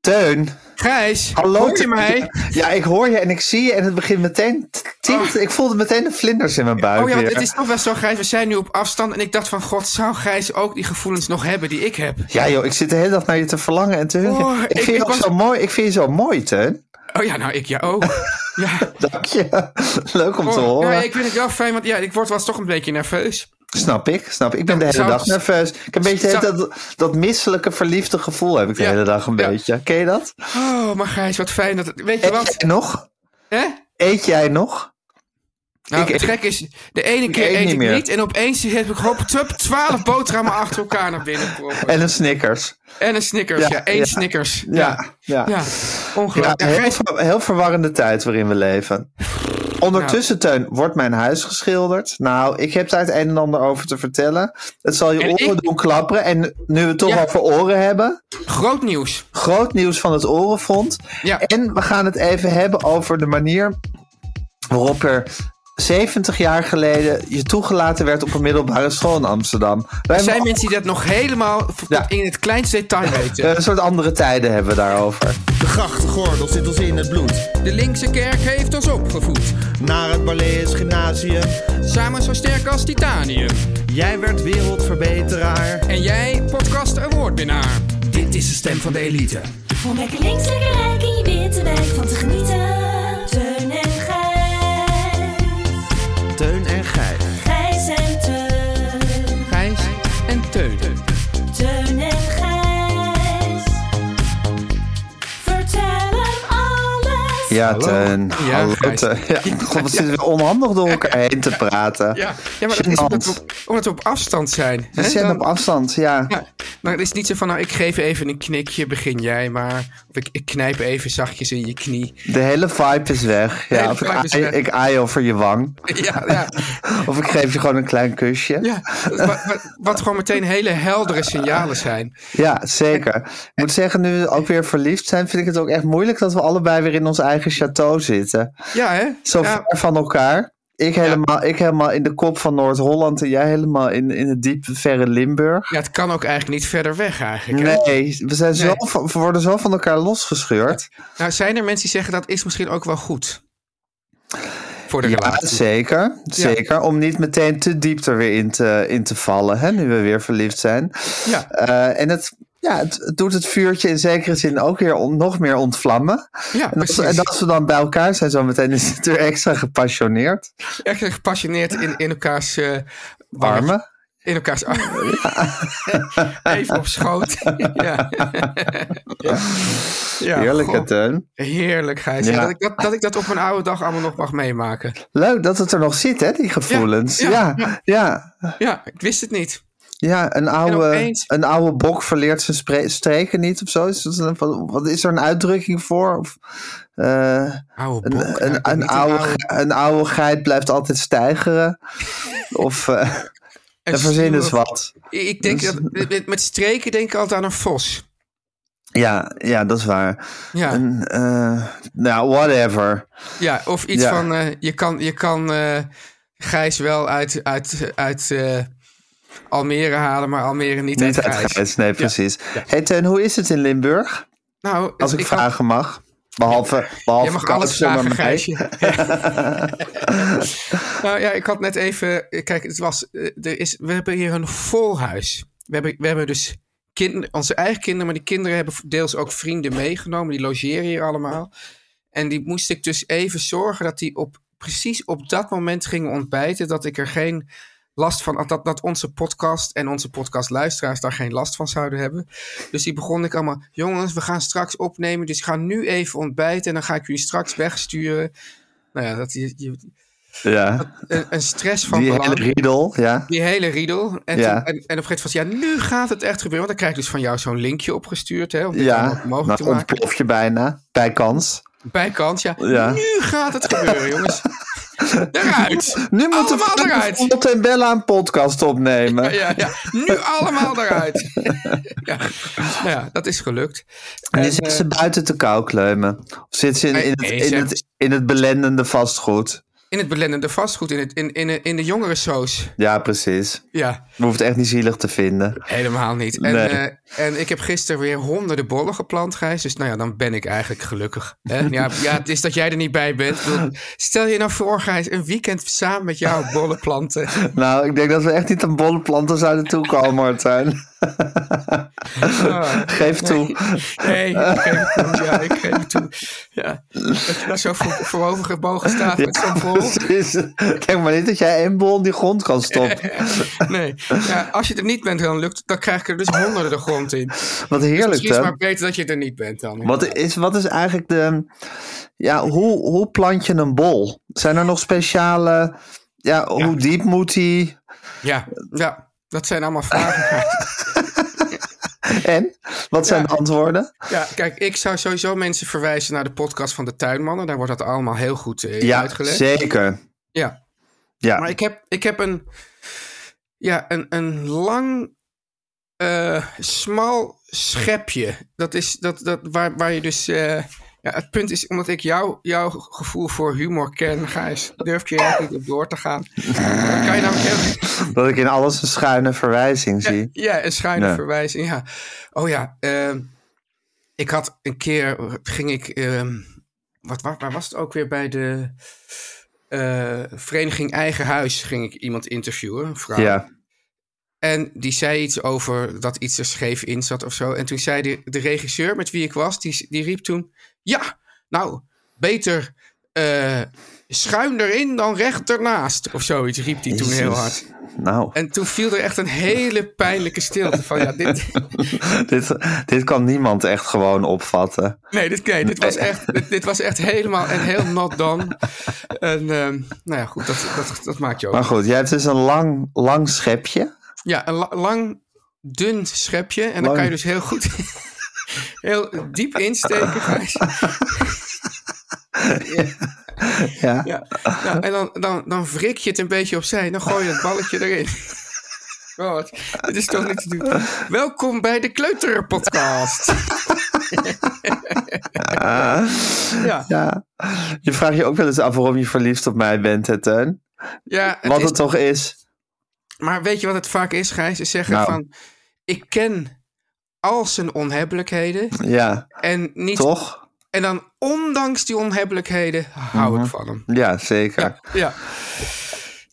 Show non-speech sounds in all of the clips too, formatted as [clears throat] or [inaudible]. Teun, Gijs, hallo. hoor je Teun. mij? Ja, ik hoor je en ik zie je en het begint meteen te tintelen. Ik voelde meteen de vlinders in mijn buik Oh ja, want weer. het is toch wel zo, Gijs. We zijn nu op afstand en ik dacht van, god, zou Gijs ook die gevoelens nog hebben die ik heb? Ja joh, ik zit de hele dag naar je te verlangen en te hunken. Oh, ik, ik- vind je ik ook was- zo mooi, ik vind je zo mooi, Teun. Oh ja, nou, ik ja [laughs] ook. Ja. Dank je. [laughs] Leuk om te Oh, horen. ja, ik vind het wel fijn, want ja, ik word wel eens toch een beetje nerveus. Snap ik, snap ik. Ik ben de hele Zou- dag nerveus. Ik heb een beetje Zou- dat, dat misselijke, verliefde gevoel heb ik de Ja, hele dag een ja. beetje. Ken je dat? Oh, maar Gijs, wat fijn dat het... Weet je Eet wat? jij nog? Hè? Eet jij nog? Nou, Ik- het gek is, de ene keer eet eet niet ik meer. niet en opeens heb ik hop, tup, twaalf boterhammen achter elkaar naar binnen proppen. En een Snickers. En een Snickers, Ja, ja, één ja. Snickers. Ja, ja. Ja, Ja, ongelooflijk. Ja, heel, Gijs, ver- heel verwarrende tijd waarin we leven. Ondertussen, Teun, wordt mijn huis geschilderd. Nou, ik heb daar het een en ander over te vertellen. Het zal je En oren ik- doen klapperen. En nu we het toch Ja. over oren hebben, groot nieuws. groot nieuws van het Orenfonds. Ja. En we gaan het even hebben over de manier waarop er 70 jaar geleden je toegelaten werd op een middelbare school in Amsterdam. Wij Er zijn hebben mensen die dat nog helemaal tot Ja. in het kleinste detail weten. een soort andere tijden hebben we daarover. De grachtgordel zit ons in het bloed. De linkse kerk heeft ons opgevoed. Naar het Barlees Gymnasium. Samen zo sterk als titanium. Jij werd wereldverbeteraar. En jij, podcast een woordwinnaar. Dit is de stem van de elite. Om lekker links, lekker rijk in je witte wijk van te genieten. Teun en Gijs. Teun en Gijs. Gijs en Teun. Gijs en Teun. Teun en Gijs. Vertel hem alles. Ja, Teun. [laughs] Ja, Hallo, Gijs. Teun. Ja, God, we zitten weer onhandig door elkaar heen te praten. Ja, ja maar dat is omdat we, op- omdat we op afstand zijn. We hè? zijn Dan- op afstand, ja. Ja, maar het is niet zo van, nou, ik geef even een knikje, begin jij maar. Of ik, ik knijp even zachtjes in je knie. De hele vibe is weg. Ja, hele of ik vibe is aai- weg. ik aai over je wang. Ja, [laughs] ja. Of ik geef je gewoon een klein kusje. ja. Wat, wat, wat gewoon meteen hele heldere signalen zijn. Ja, zeker. Ik moet zeggen, nu we ook weer verliefd zijn, vind ik het ook echt moeilijk dat we allebei weer in ons eigen château zitten. Ja, hè? Zo ja. ver van elkaar. Ik helemaal, ik helemaal in de kop van Noord-Holland en jij helemaal in, in het diepe, verre Limburg. Ja, het kan ook eigenlijk niet verder weg eigenlijk. hè? Nee, we, zijn Zo, Nee. van- we worden zo van elkaar losgescheurd. Nou, zijn er mensen die zeggen dat is misschien ook wel goed? Voor de Ja, relatie. zeker. Zeker. Om niet meteen te diep er weer in te, in te vallen, hè, nu we weer verliefd zijn. Ja. Eh, en het, ja, het, het doet het vuurtje in zekere zin ook weer on- nog meer ontvlammen. Ja, en, als, we- precies. en als we dan bij elkaar zijn, zo meteen is het weer extra gepassioneerd. Echt gepassioneerd in, in elkaars eh, Warmen. In [laughs] elkaars armen. Even op schoot. ja. ja. Ja, Heerlijke goh. teun. Heerlijk, Gijs. eh, Ja. Dat, ik dat, dat ik dat op mijn oude dag allemaal nog mag meemaken. Leuk dat het er nog zit, hè, die gevoelens. Ja, ja, ja, ja. Ja, ik wist het niet. een, oude, opeens- een oude bok verleert zijn spre- streken niet of zo. Is dat een- wat, wat is er een uitdrukking voor? Of, eh, Oude bok. Een, eigenlijk een, niet een, oude, ge- een oude geit blijft altijd [laughs] stijgeren. of eh een en verzin eens sluwe- wat. Ik denk Dus- dat, met- met streken denk ik altijd aan een vos. Ja, ja, dat is waar. Ja. Een, eh, nou, whatever. Ja, of iets Ja. van eh, je kan, je kan eh, Gijs wel uit, uit, uit eh, Almere halen, maar Almere niet, Niet uit uit Gijs. Gijs, nee, precies. Hey Teun, hoe is het in Limburg? Nou, Als ik, ik had- vragen mag. Behalve, behalve Jij mag Kousen, alles vragen, maar mij. Gijsje. nou ja, ik had net eh, even... Kijk, het was, eh, er is, we hebben hier een vol huis. We hebben, we hebben dus kinder, onze eigen kinderen, maar die kinderen hebben deels ook vrienden meegenomen. Die logeren hier allemaal. En die moest ik dus even zorgen dat die op, precies op dat moment gingen ontbijten. Dat ik er geen last van, dat, dat onze podcast en onze podcastluisteraars daar geen last van zouden hebben. Dus die begon ik allemaal, jongens, we gaan straks opnemen. Dus ik ga nu even ontbijten en dan ga ik jullie straks wegsturen. Nou ja, dat, je, je- Ja. een, een stress van Die hele belang. riedel, ja. Die hele riedel. En, Ja. toen- en, en op een gegeven moment was ja, nu gaat het echt gebeuren. Want dan krijg ik dus van jou zo'n linkje opgestuurd. Hè, om dit Ja, allemaal mogelijk dan te maken. ontplof je bijna, bij kans. Bijkans, ja. Ja. Nu gaat het [laughs] gebeuren, jongens. Eruit. Nu moeten Allemaal we eruit. Lot en Bella een podcast opnemen. Ja, ja. Nu allemaal [laughs] eruit. ja. Nou ja, dat is gelukt. En nu En, zitten eh, ze buiten te kou kleumen. Of zitten ze in, in, Nee, het, in, zeg- het, in het belendende vastgoed? In het belendende vastgoed, in, het, in, in, in de jongerensoos. Ja, precies. Ja, Je hoeft het echt niet zielig te [laughs] vinden. helemaal niet. En, Nee. eh, en ik heb gisteren weer honderden bollen geplant, Gijs. Dus nou ja, dan ben ik eigenlijk gelukkig. Hè? Ja, ja, het is dat jij er niet bij bent. Ik bedoel, Stel je nou voor, Gijs, een weekend samen met jou bollen planten. Nou, ik denk dat we echt niet aan bolle planten zouden toekomen, [laughs] Martijn. Ah. Geef toe. Nee, ik geef het toe. Ja, ik geef het toe. Ja. Dat je daar zo voor, voorover gebogen staat met zo'n bol. Precies. Denk maar niet dat jij één bol in die grond kan [laughs] stoppen. Nee. Ja, als je er niet bent, dan lukt dan krijg ik er dus honderden de grond in. Wat heerlijk, Misschien is hè? het maar beter dat je er niet bent dan. Wat is, wat is eigenlijk de. Ja, hoe, hoe plant je een bol? Zijn er nog speciale. Ja, hoe diep moet die? [laughs] Ja, ja, dat zijn allemaal vragen. En? Wat zijn Ja. de antwoorden? Ja, kijk, ik zou sowieso mensen verwijzen naar de podcast van de tuinmannen. Daar wordt dat allemaal heel goed eh, Ja, uitgelegd. zeker. Ja. Ja. Maar ik heb, ik heb een, ja, een, een lang, eh, smal schepje. Dat is dat, dat, waar, waar je dus. eh, ja, het punt is, omdat ik jou, jouw gevoel voor humor ken, Gijs, durf ik je eigenlijk niet op door te [laughs] gaan. Dan kan je nou namelijk heel, Dat ik in alles een schuine verwijzing zie. ja, een schuine Ja. verwijzing. Ja. Oh ja, ehm, ik had een keer, ging ik, ehm, wat, wa- waar was het ook weer bij de eh, vereniging Eigen Huis, ging ik iemand interviewen, een vrouw. Ja. En die zei iets over dat iets er scheef in zat of zo. En toen zei de, de regisseur met wie ik was, die, die riep toen: Ja, nou, beter eh, schuin erin dan recht ernaast. Of zoiets riep die toen heel Jezus. hard. Nou, En toen viel er echt een hele pijnlijke stilte van: Ja, [laughs] dit, dit, dit kan niemand echt gewoon opvatten. nee, dit, nee, dit, was, echt, dit, dit was echt helemaal en heel not done. En ehm, nou ja, goed, dat, dat, dat maakt je ook. Maar goed, jij hebt dus een lang, lang schepje. Ja, een la- lang, dun schepje. En dan Lang. kan je dus heel goed, [laughs] heel diep insteken. [laughs] Gijs. Ja. Ja. Nou, en dan, dan, dan wrik je het een beetje opzij. Dan gooi je het [laughs] balletje erin. God, dit is toch niet te doen. Welkom bij de Kleuterenpodcast. ja, Ah, ja. Je vraagt je ook wel eens af waarom je verliefd op mij bent, hè, Teun? ja het Wat is- het toch is. maar weet je wat het vaak is, Gijs? Is zeggen Nou. van, ik ken al zijn onhebbelijkheden. Ja, En, niet, toch? en dan ondanks die onhebbelijkheden hou ik van hem. Mhm. Ja, zeker. Ja, ja.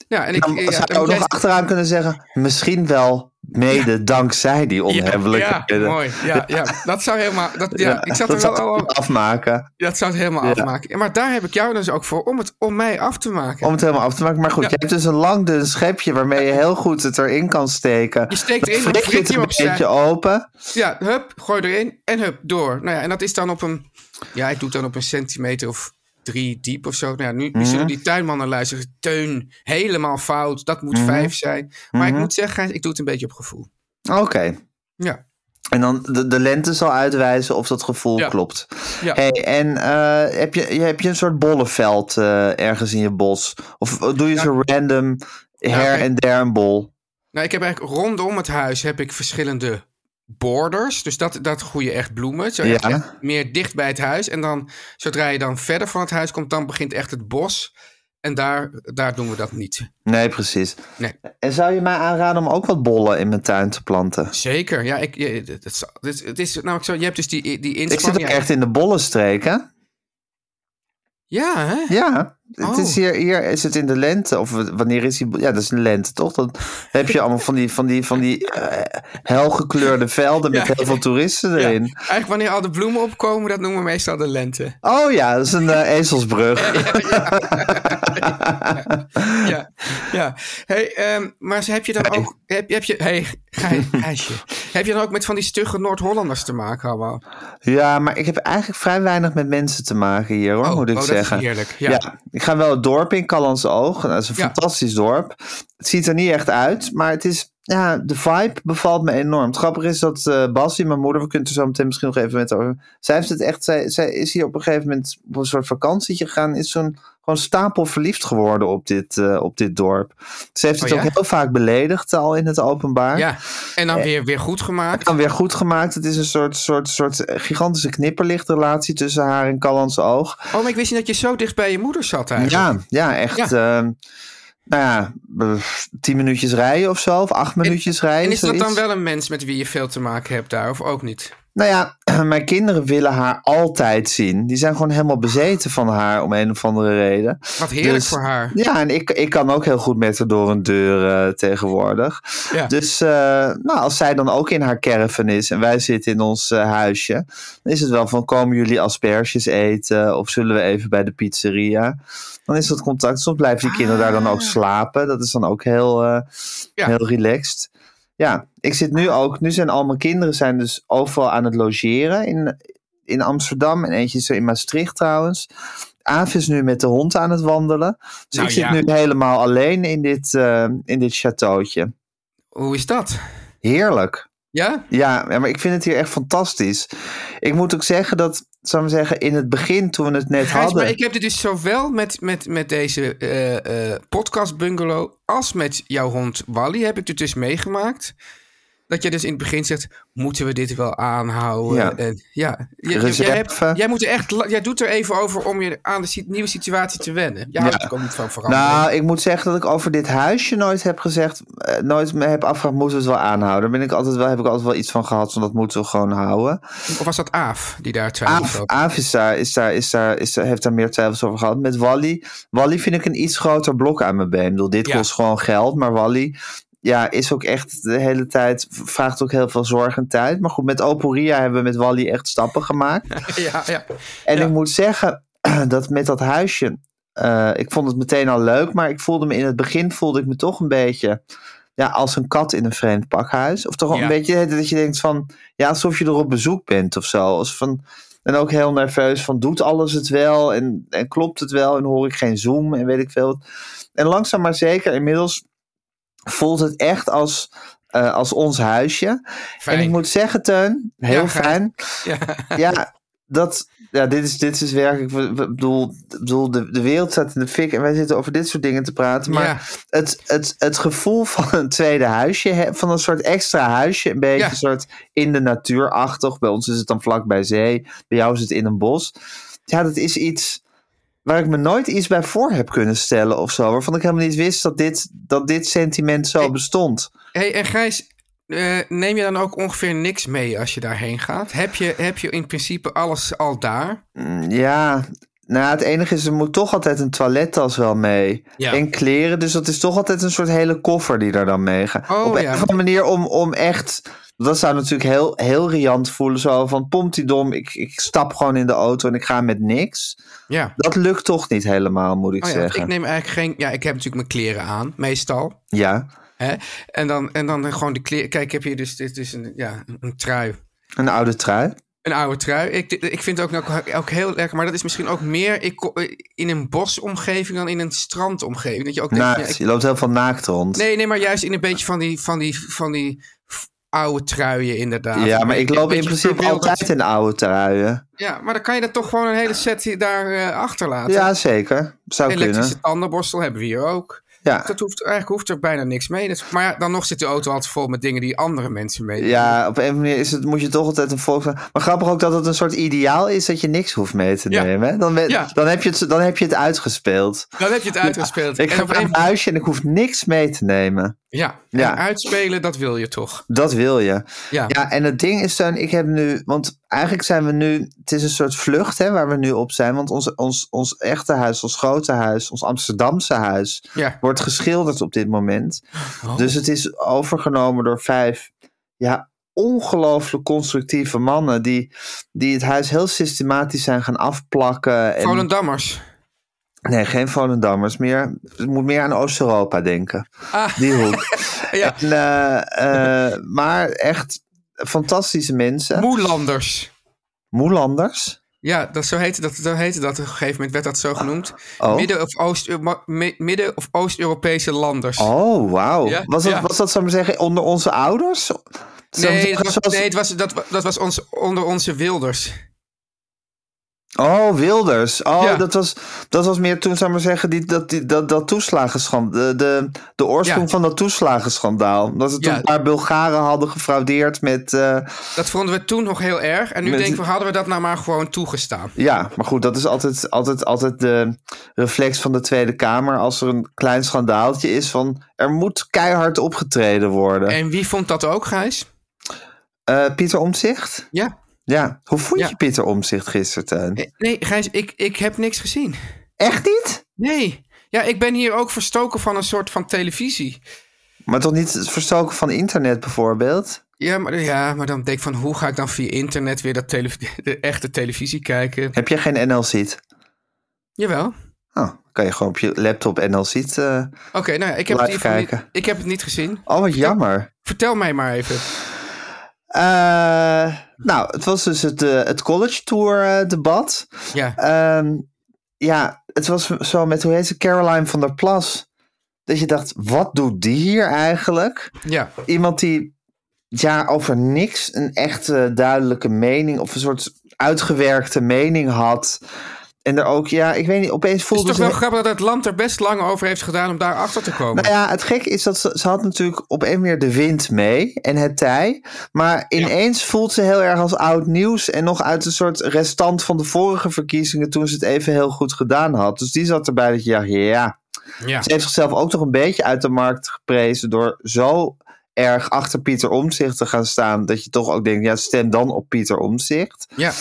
Ja, en ik... Dan ja, zou en je ook jij- nog achteraan kunnen zeggen, misschien wel mede dankzij die ja, ja, onhebbelijkheden. mooi. Ja, ja. Dat zou helemaal... Dat, ja, ik zat dat er wel zou al... ik afmaken. Dat zou het helemaal afmaken. En Maar daar heb ik jou dus ook voor, om, het, om mij af te maken. Om het helemaal af te maken. Maar goed, Ja. je hebt dus een lang dun schepje waarmee je heel goed het erin kan steken. Je steekt erin, Flik je flik het je een opzij. beetje open. Ja, hup, gooi erin en hup, door. Nou ja, en dat is dan op een... Ja, ik doe het dan op een centimeter of drie diep of zo. Nou ja, nu, nu zullen Mhm. die tuinmannen luisteren. Teun, helemaal fout. Dat moet Mhm. vijf zijn. Maar ik moet zeggen, Gijs, ik doe het een beetje op gevoel. Oké. Ja, En dan de, de lente zal uitwijzen of dat gevoel Ja. klopt. Ja. Hey, en eh, heb, je, je- heb je een soort bollenveld eh, ergens in je bos? Of eh, doe je zo random her kijk. en der een bol? Nou, ik heb eigenlijk rondom het huis heb ik verschillende borders. Dus dat, dat groeien echt bloemen. Zo echt- Ja. echt meer dicht bij het huis. En dan, zodra je dan verder van het huis komt, dan begint echt het bos. En daar, daar doen we dat niet. Nee, precies. Nee. En zou je mij aanraden om ook wat bollen in mijn tuin te planten? Zeker. Ja, ik, je- het, het, zal- nou, het is- het is namelijk zo. Je hebt dus die, die Ik zit ook inspanning. echt in de bollenstreek, hè? Ja, hè? Ja, het is Oh. hier, hier is het in de lente. Of wanneer is die? Ja, dat is in de lente, toch? Dan heb je allemaal van die, van die, van die eh, helgekleurde velden met Ja. heel veel toeristen Ja. erin. Eigenlijk wanneer al de bloemen opkomen, dat noemen we meestal de lente. Oh ja, dat is een eh, ezelsbrug. [laughs] Ja, ja. Hey, ehm, maar ze- heb je dan ook... Heb, heb je, hey, Gij- Gijsje. heb je dan ook met van die stugge Noord-Hollanders te maken Oh, allemaal? Ja, maar ik heb eigenlijk vrij weinig met mensen te maken hier, hoor, Oh, moet ik oh, dat is zeggen. heerlijk, ja. Ik ga wel het dorp in, Callandse Oog. Nou, Dat is een Ja. fantastisch dorp. Het ziet er niet echt uit, maar het is... Ja, de vibe bevalt me enorm. Het grappige is dat eh Basie, mijn moeder, we kunnen het er zo meteen misschien nog even met haar over. Zij heeft het echt, zij, zij is hier op een gegeven moment op een soort vakantietje gegaan. Is zo'n gewoon stapel verliefd geworden op dit, eh, op dit dorp. Ze heeft Oh, het ja? ook heel vaak beledigd eh, al in het openbaar Ja, en Eh. dan weer, weer goed gemaakt. dan weer goed gemaakt. Het is een soort, soort, soort gigantische knipperlichtrelatie tussen haar en Callans oog. Oh, maar ik wist niet dat je zo dicht bij je moeder zat Ja, eigenlijk. ja, echt. ehm, nou ja, b- tien minuutjes rijden of zo, of acht minuutjes rijden. En is dat zoiets. dan wel een mens met wie je veel te maken hebt daar, of ook niet? Nou ja, [clears throat] mijn kinderen willen haar altijd zien. Die zijn gewoon helemaal bezeten van haar om een of andere reden. Wat heerlijk Dus- voor haar. Ja, en ik, ik kan ook heel goed met haar door een deur eh, tegenwoordig. Ja. Dus eh, nou, als zij dan ook in haar caravan is en wij zitten in ons eh, huisje, dan is het wel van komen jullie asperges eten of zullen we even bij de pizzeria? Dan is dat contact. Soms blijven die kinderen daar dan ook slapen. Dat is dan ook heel, eh, Ah. Ja. heel relaxed. Ja, ik zit nu ook, nu zijn al mijn kinderen zijn dus overal aan het logeren in, in Amsterdam en eentje is er in Maastricht trouwens. Aaf is nu met de hond aan het wandelen. Dus Nou ik zit ja. nu helemaal alleen in dit, eh, in dit chateautje. Hoe is dat? Heerlijk. Ja? Ja, ja, maar ik vind het hier echt fantastisch. Ik moet ook zeggen dat, zou ik maar zeggen, in het begin toen we het net Gijs, hadden. maar ik heb dit dus zowel met, met, met deze eh, eh, podcast bungalow als met jouw hond Wally heb ik dit dus meegemaakt. Dat je dus in het begin zegt, moeten we dit wel aanhouden? Ja. En, ja. Je- je- Reserve. jij, hebt- jij moet er echt, la- jij doet er even over om je aan de si- nieuwe situatie te wennen. Je houdt er ook niet van veranderen. Nou, ik moet zeggen dat ik over dit huisje nooit heb gezegd, eh, nooit me heb afgevraagd, moeten we het wel aanhouden? Daar ben ik altijd wel, heb ik altijd wel iets van gehad, van dat moeten we gewoon houden. Of was dat Aaf die daar twijfelt Aaf, over? Aaf is daar, is daar, is daar, is daar- heeft daar meer twijfels over gehad. Met Wally, Wally vind ik een iets groter blok aan mijn been. Ik bedoel, dit Ja. kost gewoon geld, maar Wally ja, is ook echt de hele tijd, vraagt ook heel veel zorg en tijd. Maar goed, met Oporia hebben we met Wally echt stappen gemaakt. Ja, ja. En Ja. ik moet zeggen [clears throat] dat met dat huisje, eh, ik vond het meteen al leuk, maar ik voelde me in het begin voelde ik me toch een beetje ja, als een kat in een vreemd pakhuis. Of toch Ja. een beetje dat je denkt van, ja, alsof je er op bezoek bent of zo. Als van, en ook heel nerveus van, doet alles het wel en, en klopt het wel en hoor ik geen zoom en weet ik veel. wat. En langzaam maar zeker, inmiddels voelt het echt als, eh, als ons huisje. Fijn. En ik moet zeggen, Teun, heel Ja, ga- fijn ja. ja, dat, ja dit, is, dit is werkelijk. we- we- Ik bedoel, ik bedoel de, de wereld staat in de fik en wij zitten over dit soort dingen te praten. Maar Ja. het, het, het gevoel van een tweede huisje, hè, van een soort extra huisje, een beetje Ja. een soort in de natuurachtig. Bij ons is het dan vlak bij zee, bij jou is het in een bos. Ja, dat is iets waar ik me nooit iets bij voor heb kunnen stellen of zo. Waarvan ik helemaal niet wist dat dit, dat dit sentiment zo Ik- bestond. Hey, en Gijs, eh, neem je dan ook ongeveer niks mee als je daarheen gaat? Heb je, heb je in principe alles al daar? Mm, Ja, nou het enige is, er moet toch altijd een toilettas wel mee. Ja. En kleren, dus dat is toch altijd een soort hele koffer die daar dan mee gaat. Oh, Op een ja. of andere manier om, om echt... Dat zou natuurlijk heel, heel riant voelen, zo van pomptidom, ik, ik stap gewoon in de auto en ik ga met niks. Ja. Dat lukt toch niet helemaal, moet ik Oh ja, want zeggen. ik neem eigenlijk geen. Ja, ik heb natuurlijk mijn kleren aan, meestal. Ja, Hè? En, dan, en dan gewoon de kleren. Kijk, ik heb hier dus, dit is een, ja, een trui. een oude trui. Een oude trui. Ik, ik vind het ook, ook, ook heel lekker. Maar dat is misschien ook meer ik, ko- in een bosomgeving dan in een strandomgeving. Dat je ook denkt, Naakt, ja, ik- Nou, je loopt heel veel naakt rond. nee, nee, maar juist in een beetje van die, van die, van die f- oude truien inderdaad. ja, Een maar ik beetje- loop een in beetje principe verwilderd. altijd in oude truien. Ja, maar dan kan je dat toch gewoon een hele set hier- daar eh, achterlaten. Ja, zeker. Zou Elektrische kunnen. tandenborstel hebben we hier ook. Ja. Dat hoeft, eigenlijk hoeft er bijna niks mee. Dus, maar ja, dan nog zit de auto altijd vol met dingen die andere mensen mee. Ja, op een of andere manier is het, moet je toch altijd een volk zijn. Maar grappig ook dat het een soort ideaal is dat je niks hoeft mee te Ja. nemen. hè? Dan, we- Ja. dan, heb je het, dan heb je het uitgespeeld. Dan heb je het uitgespeeld. Ik en ga op naar een, mijn huisje en ik hoef niks mee te nemen. Ja, Ja. En uitspelen, dat wil je toch? Dat wil je. Ja. Ja, en het ding is dan, ik heb nu, want eigenlijk zijn we nu, het is een soort vlucht hè, waar we nu op zijn, want ons, ons, ons echte huis, ons grote huis, ons Amsterdamse huis, Ja. wordt geschilderd op dit moment. Oh. Dus het is overgenomen door vijf, ja, ongelooflijk constructieve mannen die, die het huis heel systematisch zijn gaan afplakken. En, Volendammers. Nee, geen Volendammers meer. Het moet meer aan Oost-Europa denken. Ah. Die hoek. [laughs] Ja. En, eh, eh, maar echt fantastische mensen. Moelanders. Moelanders. Ja, dat, zo, heette dat, zo heette dat. Op een gegeven moment werd dat zo genoemd. Oh. Midden- of Oost- ma- mi- Midden- of Oost-Europese landers. Oh, wauw. Ja, Was, dat, ja. was dat, zou ik maar zeggen, onder onze ouders? Zou ik maar nee, zeggen, dat was, zoals- nee het was, dat, wa- dat was ons, onder onze wilders. Oh, Wilders. Oh, Ja. dat, was, dat was meer toen, zou ik maar zeggen, die, dat, die, dat, dat toeslagenschandaal. De, de, de oorsprong Ja. van dat toeslagenschandaal. Dat ze toen Ja. een paar Bulgaren hadden gefraudeerd met... eh, Dat vonden we toen nog heel erg. En nu Met- denken we, hadden we dat nou maar gewoon toegestaan? Ja, maar goed, dat is altijd, altijd, altijd de reflex van de Tweede Kamer. Als er een klein schandaaltje is van er moet keihard opgetreden worden. En wie vond dat ook, Gijs? Eh, Pieter Omzicht? Ja. Ja. Hoe vond Ja. je Pieter Omzicht gisteren, Teun? Eh, Nee, Gijs, ik, ik heb niks gezien. Echt niet? Nee. Ja, ik ben hier ook verstoken van een soort van televisie. Maar toch niet het verstoken van internet bijvoorbeeld? Ja, maar, ja, maar dan denk ik van, hoe ga ik dan via internet weer dat tele- [laughs] de echte televisie kijken? Heb jij geen NL-seat? Jawel. Oh, kan je gewoon op je laptop NL-seat... eh, Oké, nou ja, ik heb, Laat het in ieder geval kijken. niet, ik heb het niet gezien. Oh, wat jammer. Vertel mij maar even. Eh, nou, het was dus het, eh, het college tour eh, debat. Ja, Ehm, ja, het was zo met, hoe heet ze, Caroline van der Plas. Dat je dacht, wat doet die hier eigenlijk? ja, Iemand die ja, over niks een echte duidelijke mening of een soort uitgewerkte mening had. En er ook, ja, ik weet niet, opeens Het is voelde toch ze... wel grappig dat het land er best lang over heeft gedaan om daar achter te komen. Nou ja, het gekke is dat ze, ze had natuurlijk op een meer de wind mee en het tij. Maar ineens voelt ze heel erg als oud nieuws en nog uit een soort restant van de vorige verkiezingen toen ze het even heel goed gedaan had. Dus die zat erbij dat je dacht, ja, ja. ze heeft zichzelf ook toch een beetje uit de markt geprezen door zo erg achter Pieter Omzicht te gaan staan dat je toch ook denkt, ja, stem dan op Pieter Omzicht. ja.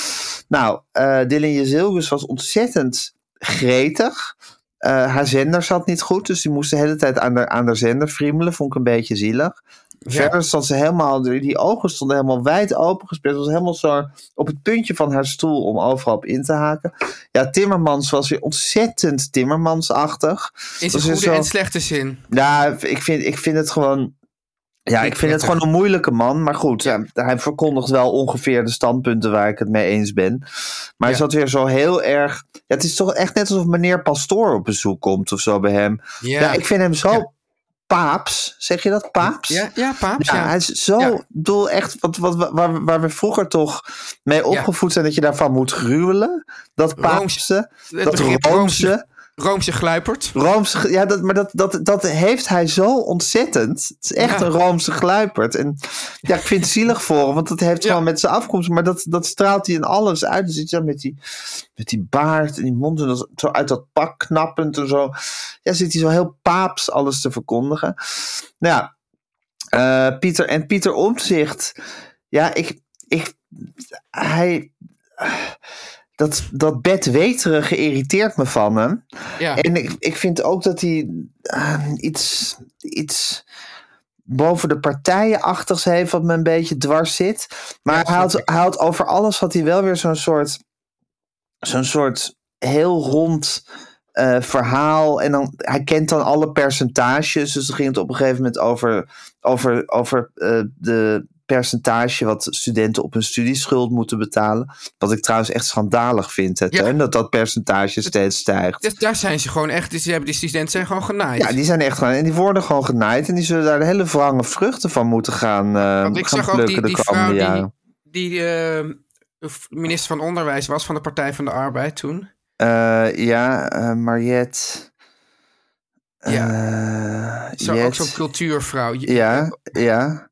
Nou, eh Dylan Jezilgus was ontzettend gretig. Eh, haar zender zat niet goed, dus die moest de hele tijd aan haar, aan haar zender friemelen. Vond ik een beetje zielig. Verder stond ze helemaal, die ogen stonden helemaal wijd open gespeeld. was helemaal zo op het puntje van haar stoel om overal op in te haken. Ja, Timmermans was weer ontzettend Timmermansachtig. In Dat zijn is weer goede zo- en slechte zin. ja, Nou, ik vind, ik vind het gewoon. Ja, ik vind het gewoon een moeilijke man. Maar goed, ja, hij verkondigt wel ongeveer de standpunten waar ik het mee eens ben. Maar hij Ja. zat weer zo heel erg. ja, het is toch echt net alsof meneer Pastoor op bezoek komt of zo bij hem. Ja, Ja, ik vind hem zo Ja. paaps. Zeg je dat paaps? ja, ja paaps, Ja, ja. hij is zo, Ja. ik bedoel echt, wat, wat, wa- waar, waar we vroeger toch mee opgevoed zijn dat je daarvan moet gruwelen. Dat Rooms- paapse, het dat begrip roomse. Roomse gluipert. Roomse, ge- ja, dat, maar dat, dat, dat heeft hij zo ontzettend. Het is echt Ja. een Roomse gluipert. En ja, ik vind het zielig voor hem, want dat heeft Ja. gewoon met zijn afkomst. Maar dat, dat straalt hij in alles uit. Dus iets zo met die, met die baard en die mond en dat, zo uit dat pak knappend en zo. Ja, zit hij zo heel paaps alles te verkondigen. Nou ja, eh, Pieter en Pieter Omtzigt. Ja, ik, ik, hij, dat, dat bedweterige irriteert me van hem. Ja, En ik, ik vind ook dat hij eh, iets, iets boven de partijenachtigs heeft, wat me een beetje dwars zit. Maar hij, haalt, hij haalt over alles wat hij wel weer zo'n soort, zo'n soort heel rond eh, verhaal. En dan, hij kent dan alle percentages. Dus dan ging het op een gegeven moment over, over, over eh, de percentage wat studenten op hun studieschuld moeten betalen. Wat ik trouwens echt schandalig vind, hè, Ja. Teun, dat dat percentage steeds stijgt. dus daar zijn ze gewoon echt, die, hebben, die studenten zijn gewoon genaaid. Ja, die zijn echt gewoon. En die worden gewoon genaaid. En die zullen daar de hele wrange vruchten van moeten gaan, eh Want ik gaan zag ook die, plukken de die vrouw komende die, jaren. die eh, minister van Onderwijs was van de Partij van de Arbeid toen. Eh, ja, eh Mariette. Ja. Eh, Zo, ook Jet. zo'n cultuurvrouw. Ja, ja.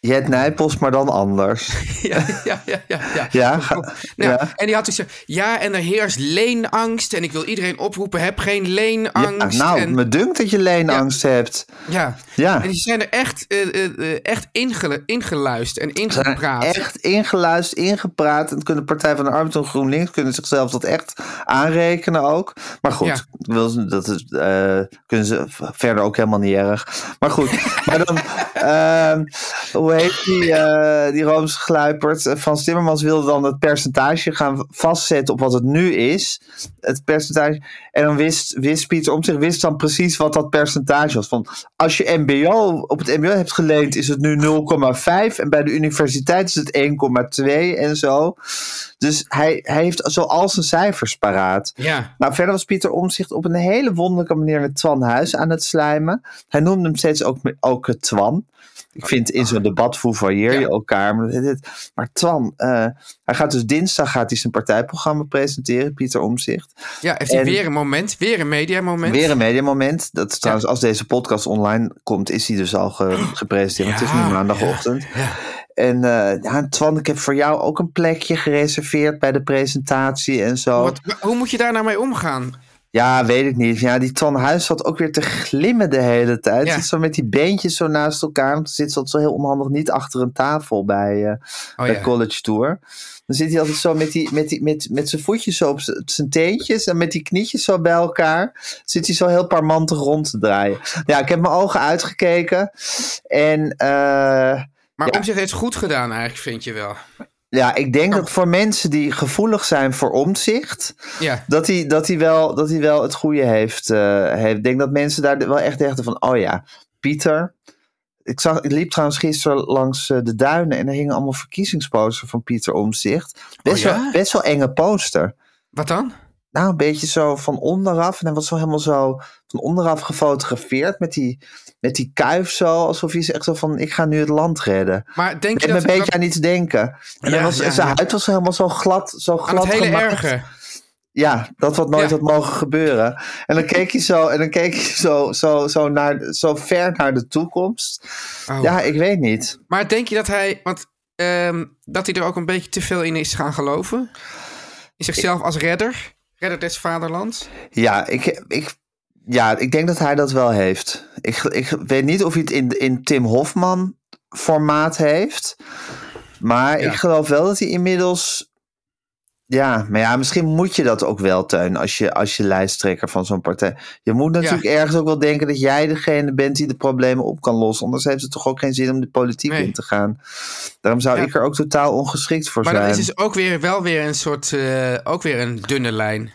Jet Nijpels, maar dan [laughs] anders. [laughs] ja, ja, ja, ja. ja. Ja, ga- Nou, ja. En die had dus gezegd, ja, en er heerst leenangst. En ik wil iedereen oproepen, heb geen Ja, leenangst. nou, en, me dunkt dat je leenangst hebt. ja. Ja. en die zijn er echt, eh eh, eh, echt ingelu- ingeluisterd en ingepraat. Echt ingeluisterd, ingepraat. En kunnen Partij van de Arbeid en GroenLinks kunnen zichzelf dat echt aanrekenen ook. Maar goed, Ja. wil ze- dat is, eh, kunnen ze v- verder ook helemaal niet erg. Maar goed, maar dan, [laughs] ehm, hoe heet die, eh die Roomse gluipert? Eh, Frans Timmermans wilde dan het percentage gaan vastzetten op wat het nu is. Het percentage. En dan wist, wist Pieter om zich wist dan precies wat dat percentage was. Van als je MBO op het MBO hebt geleend, is het nu 0,5. En bij de universiteit is het 1,2 en zo. Dus hij, hij heeft zoal zijn cijfers paraat. Ja. Nou, verder was Pieter Omzicht op een hele wonderlijke manier met Twan Huis aan het slijmen. Hij noemde hem steeds ook, me- ook eh, Twan. Ik vind in zo'n debat foevailleer je Ja. elkaar. Maar, dit- dit- maar Twan, eh, hij gaat dus dinsdag gaat hij zijn partijprogramma presenteren, Pieter Omzicht. ja, heeft hij En- weer een moment, weer een mediamoment. Weer een mediamoment. Dat is trouwens, als deze podcast online komt, is hij dus al ge- gepresenteerd. want het is Ja, nu maandagochtend. En eh, ja, Twan, ik heb voor jou ook een plekje gereserveerd bij de presentatie en zo. Wat, hoe moet je daar nou mee omgaan? Ja, weet ik niet. Ja, die Twan Huis zat ook weer te glimmen de hele tijd. Ja. Zit zo met die beentjes zo naast elkaar. Want zit zat zo heel onhandig niet achter een tafel bij, eh, bij Oh ja. College Tour. Dan zit hij altijd zo met, die, met, die, met, met zijn voetjes zo op z- op zijn teentjes. En met die knietjes zo bij elkaar. Zit hij zo heel parmantig rond te draaien. Ja, ik heb mijn ogen uitgekeken. En... eh, Maar Ja. om zich heeft het goed gedaan eigenlijk, vind je wel. ja, ik denk Oh. dat voor mensen die gevoelig zijn voor omzicht, Ja. dat hij, dat hij, wel, dat hij wel het goede heeft, eh, heeft. Ik denk dat mensen daar wel echt dachten van, oh ja, Pieter. Ik, zag, ik liep trouwens gisteren langs eh, de duinen en er hingen allemaal verkiezingsposters van Pieter Omzicht. Best, Oh ja? wel, best wel enge poster. Wat dan? Nou, een beetje zo van onderaf. En hij was zo helemaal zo van onderaf gefotografeerd met die, met die kuif zo. Alsof hij is echt zo van, ik ga nu het land redden. Maar denk je Ik ben dat... een beetje dat- aan iets denken. En Ja, dan was, ja, zijn ja. huid was helemaal zo glad, zo glad aan het hele gemaakt. erge. Ja, dat wat nooit Ja. had mogen gebeuren. En dan keek je zo, en dan keek je zo, zo, zo, naar, zo ver naar de toekomst. Oh. Ja, ik weet niet. Maar denk je dat hij, want, ehm, dat hij er ook een beetje te veel in is gaan geloven? In zichzelf als redder? Redder des vaderlands? Ja, ik, ik, ja, ik denk dat hij dat wel heeft. Ik, ik weet niet of hij het in, in Tim Hofman formaat heeft. Maar Ja. ik geloof wel dat hij inmiddels... Ja, maar ja, misschien moet je dat ook wel, Teun, als je, als je lijsttrekker van zo'n partij. Je moet natuurlijk ergens ook wel denken dat jij degene bent die de problemen op kan lossen. Anders heeft het toch ook geen zin om de politiek Nee. in te gaan. Daarom zou Ja. ik er ook totaal ongeschikt voor Maar zijn. dat is dus ook weer, wel weer een soort, eh, ook weer een dunne lijn.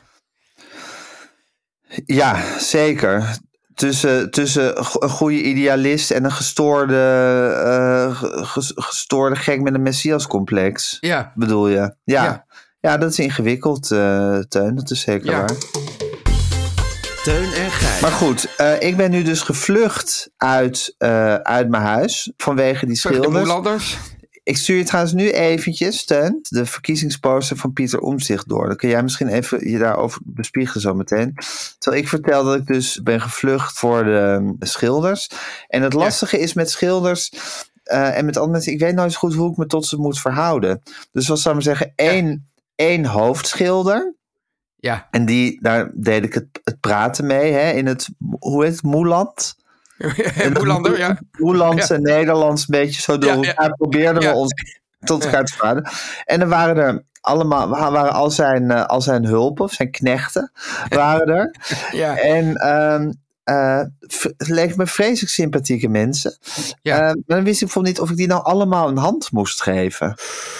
Ja, zeker. Tussen, tussen go- een goede idealist en een gestoorde, eh, ge- ge- gestoorde gek met een messiascomplex, Ja, bedoel je? Ja. Ja. ja. dat is ingewikkeld, eh, Teun. Dat is zeker Ja. waar. Teun en Gijs. Maar goed, eh, ik ben nu dus gevlucht uit, eh, uit mijn huis vanwege die terug de schilders. Moelanders. Ik stuur je trouwens nu eventjes, Teun, de verkiezingsposter van Pieter Omtzigt door. Dan kun jij misschien even je daarover bespiegelen zo meteen. Terwijl ik vertel dat ik dus ben gevlucht voor de eh, schilders. En het lastige is met schilders eh, en met andere mensen, ik weet nooit zo goed hoe ik me tot ze moet verhouden. Dus wat zou ik maar zeggen, één, één hoofdschilder. Ja, [laughs] En die, daar deed ik het, het praten mee, hè, in het, hoe heet het, Moeland? Moelander, ja. Hollands en Nederlands een beetje zo door Ja, ja. elkaar probeerden Ja. we ons tot elkaar te verhouden. En dan waren er allemaal, waren al zijn, eh, al zijn hulpen, of zijn knechten, waren er. ja. En ehm eh, v- het leek me vreselijk sympathieke mensen. Ja. Eh, maar dan wist ik bijvoorbeeld niet of ik die nou allemaal een hand moest geven.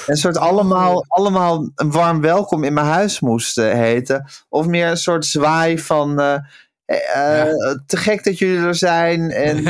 Een soort Oh. allemaal, allemaal een warm welkom in mijn huis moest eh, heten. Of meer een soort zwaai van... eh, eh, Te gek dat jullie er zijn. [laughs] En,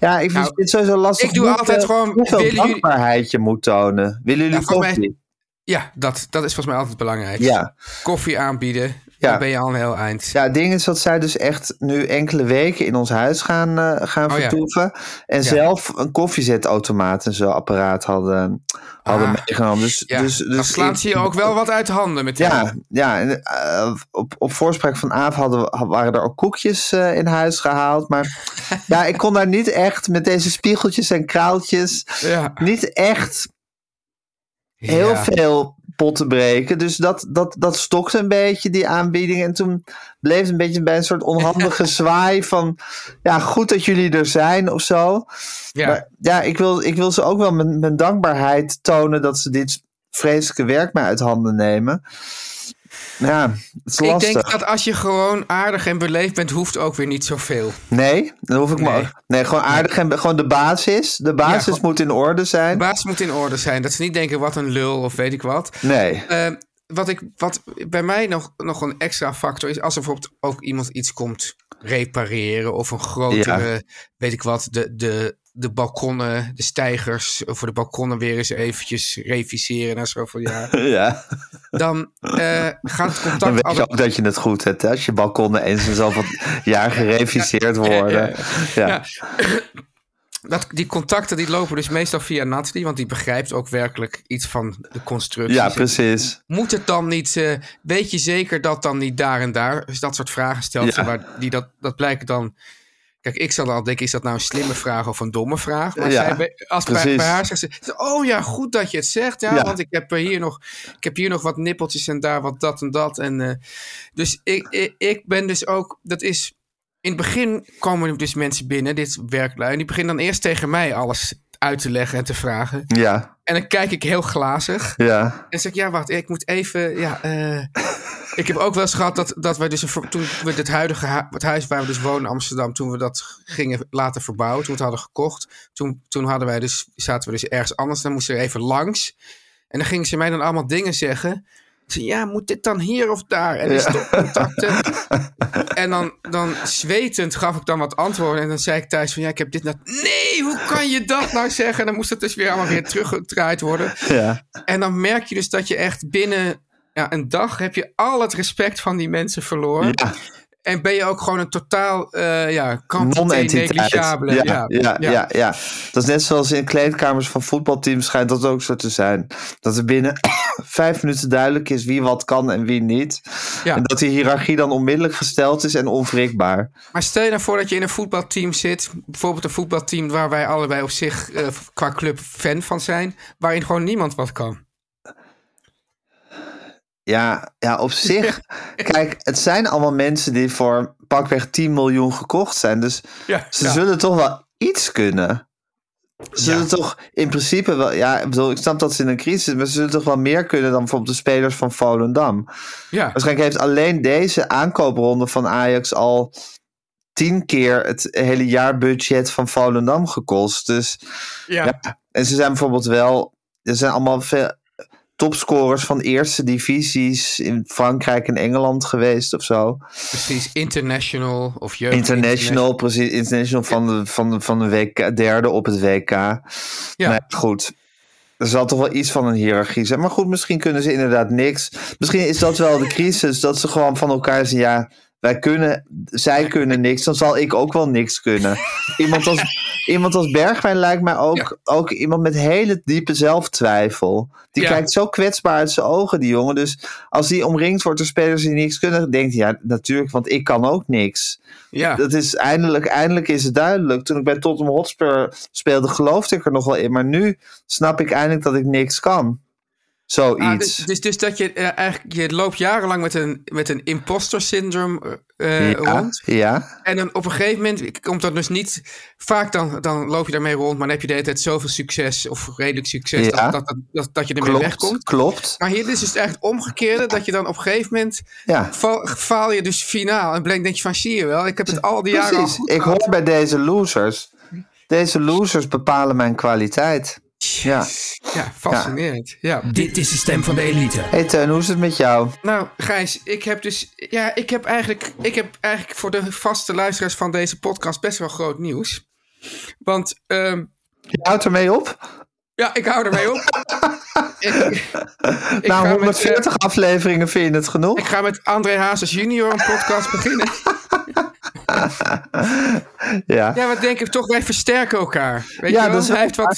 ja, ik vind Nou, het sowieso lastig. ik doe hoeveel- altijd gewoon, Hoeveel willen jullie- dankbaarheid je moet tonen. Willen jullie Ja, voor mij- koffie? Ja, dat, dat is volgens mij altijd belangrijk. Ja. Koffie aanbieden, Ja. dan ben je al een heel eind. Ja, het ding is dat zij dus echt nu enkele weken in ons huis gaan, eh, gaan Oh, ja. vertoeven. En zelf een koffiezetautomaat en zo'n apparaat hadden, hadden Ah. meegenomen. Dus, Ja, dus, dan dus slaat ze je ook wel wat uit de handen met Ja, ja en, eh, op, op voorspraak van Aaf hadden, we- waren er ook koekjes eh, in huis gehaald. Maar [laughs] ja, ik kon daar niet echt met deze spiegeltjes en kraaltjes Ja. niet echt heel Ja. veel potten breken. Dus dat, dat, dat stokte een beetje, die aanbieding. En toen bleef het een beetje bij een soort [laughs] onhandige zwaai van... ja, goed dat jullie er zijn of zo. Ja. Maar ja, ik wil, ik wil ze ook wel mijn, mijn dankbaarheid tonen... dat ze dit vreselijke werk mij uit handen nemen. Ja, het is Ik lastig. denk dat als je gewoon aardig en beleefd bent, hoeft ook weer niet zoveel. Nee, dan hoef ik me Nee. ook... Nee, gewoon aardig en gewoon de basis. De basis gewoon- moet in orde De zijn. baas moet in orde zijn. Dat ze niet denken, wat een lul of weet ik wat. Nee, [laughs] Eh, wat, ik, wat bij mij nog, nog een extra factor is, als er bijvoorbeeld ook iemand iets komt repareren of een grotere, weet ik wat, de, de, de balkonnen, de stijgers voor de balkonnen weer eens eventjes reviseren na zoveel jaar. ja. Dan eh, gaat het Dan contact weet je altijd... ook dat je het goed hebt. hè, Als je balkonnen eens in [laughs] zoveel jaar gereviseerd worden. Ja, Dat, die contacten die lopen dus meestal via Natalie, want die begrijpt ook werkelijk iets van de constructie. ja precies. Moet het dan niet, eh, weet je zeker dat dan niet daar en daar? Dus dat soort vragen stelt ze, Ja. waar die dat, dat blijkt dan... Kijk, ik zal dan denken, is dat nou een slimme vraag of een domme vraag? Maar Ja, zij bij- als bij, precies. bij haar zegt ze, oh ja, goed dat je het zegt. Ja, Ja. want ik heb, eh, hier nog, ik heb hier nog wat nippeltjes en daar wat dat en dat. En, eh, dus ik, ik, ik ben dus ook, dat is... In het begin komen er dus mensen binnen, dit werklui. En die beginnen dan eerst tegen mij alles uit te leggen en te vragen. Ja, En dan kijk ik heel glazig. ja. En zeg ik, ja, wacht, ik moet even. Ja, eh, ik heb ook wel eens gehad dat, dat wij dus. een ver- toen we dit huidige hu- het huis waar we dus wonen in Amsterdam. toen we dat gingen laten verbouwen. toen we het hadden gekocht. toen, toen hadden wij dus, zaten we dus ergens anders. Dan moesten we er even langs. En dan gingen ze mij dan allemaal dingen zeggen. Ik zei, ja, moet dit dan hier of daar? En is stopcontacten. En dan, dan zwetend gaf ik dan wat antwoorden. En dan zei ik thuis van, ja, ik heb dit nou... Nee, hoe kan je dat nou zeggen? En dan moest het dus weer allemaal weer teruggedraaid worden. ja. En dan merk je dus dat je echt binnen ja, een dag heb je al het respect van die mensen verloren. Ja. En ben je ook gewoon een totaal eh ja, quantité Non-entiteit. negligabele. Ja, ja, ja, ja. Dat is net zoals in kleedkamers van voetbalteams schijnt dat ook zo te zijn. Dat er binnen [coughs] vijf minuten duidelijk is wie wat kan en wie niet. Ja. En dat die hiërarchie dan onmiddellijk gesteld is en onwrikbaar. Maar stel je nou voor dat je in een voetbalteam zit. Bijvoorbeeld een voetbalteam waar wij allebei op zich eh, qua club fan van zijn. Waarin gewoon niemand wat kan. Ja, ja, [laughs] op zich. Kijk, het zijn allemaal mensen die voor pakweg 10 miljoen gekocht zijn. Dus Ja, ze ja. zullen toch wel iets kunnen. Ze zullen Ja. toch in principe wel... Ja, ik bedoel, ik snap dat ze in een crisis zitten, maar ze zullen toch wel meer kunnen dan bijvoorbeeld de spelers van Volendam. Ja, Waarschijnlijk heeft alleen deze aankoopronde van Ajax al tien keer het hele jaarbudget van Volendam gekost. Dus ja. en ze zijn bijvoorbeeld wel. Er zijn allemaal veel topscorers van eerste divisies in Frankrijk en Engeland geweest of zo. precies. International of jeugd. International, precies. International van de, van de, van de WK, derde op het WK. Ja. goed. Er zal toch wel iets van een hiërarchie zijn. Maar goed, misschien kunnen ze inderdaad niks. Misschien is dat wel de crisis. Dat ze gewoon van elkaar zeggen: ja, wij kunnen, zij kunnen niks. Dan zal ik ook wel niks kunnen. Iemand als, iemand als Bergwijn lijkt mij ook, ook iemand met hele diepe zelftwijfel. Die Ja. kijkt zo kwetsbaar uit zijn ogen, die jongen. Dus als die omringd wordt door spelers die niks kunnen, denkt hij: ja, natuurlijk, want ik kan ook niks. Ja. [laughs] Dat is eindelijk, eindelijk is het duidelijk. Toen ik bij Tottenham Hotspur speelde, geloofde ik er nog wel in. Maar nu snap ik eindelijk dat ik niks kan. Ah, Zoiets. dus, dus, dus dat je eh, eigenlijk, je loopt jarenlang met een, met een imposter syndroom eh, eh, ja, rond. ja, En dan op een gegeven moment komt dat dus niet. Vaak dan, dan loop je daarmee rond, maar dan heb je de hele tijd zoveel succes of redelijk succes Ja. dat, dat, dat, dat, dat je ermee klopt. wegkomt. Klopt. Maar hier is dus echt het omgekeerde, dat je dan op een gegeven moment Ja. val- faal je dus finaal. En blank denk je van, zie je wel, ik heb het al die jaren al Precies. goed Ik gehad. hoor bij deze losers. Deze losers bepalen mijn kwaliteit. Ja. Ja, fascinerend. Ja. Dit is de stem van de elite. Hey Teun, hoe is het met jou? Nou, Gijs, ik heb dus. Ja, ik heb eigenlijk. Ik heb eigenlijk voor de vaste luisteraars van deze podcast best wel groot nieuws. Want. ehm, Je houdt ermee op? [laughs] ja, ik hou ermee op. Ik, ik Na ga met, 140 eh, afleveringen vind je het genoeg. ik ga met André Hazes junior een [laughs] podcast beginnen. Ja. Ja, wat denk ik toch, wij versterken elkaar. Weet Ja, je wel? dat is Hij ook heeft wat...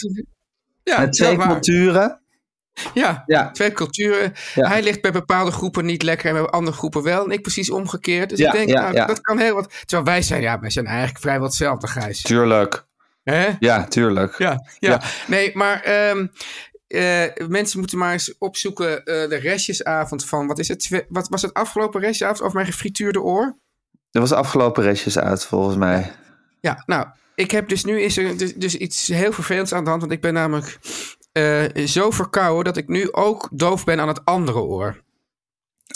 Ja, Met twee dat waar. culturen. Ja, Ja. twee culturen. Ja. Hij ligt bij bepaalde groepen niet lekker en bij andere groepen wel. En ik precies omgekeerd. Dus Ja, ik denk, ja, nou, ja. dat kan heel wat. Terwijl wij zijn, ja, wij zijn eigenlijk vrijwel hetzelfde, Gijs. Tuurlijk. Hè? Ja, tuurlijk. Ja, ja. Ja. Nee, maar ehm, eh, mensen moeten maar eens opzoeken eh, de restjesavond van... Wat, is het, Twe- wat was het afgelopen restjesavond over mijn gefrituurde oor? Er was afgelopen restjes uit, volgens mij. Ja, nou, ik heb dus nu is er dus, dus iets heel vervelends aan de hand. Want ik ben namelijk eh, zo verkouden dat ik nu ook doof ben aan het andere oor.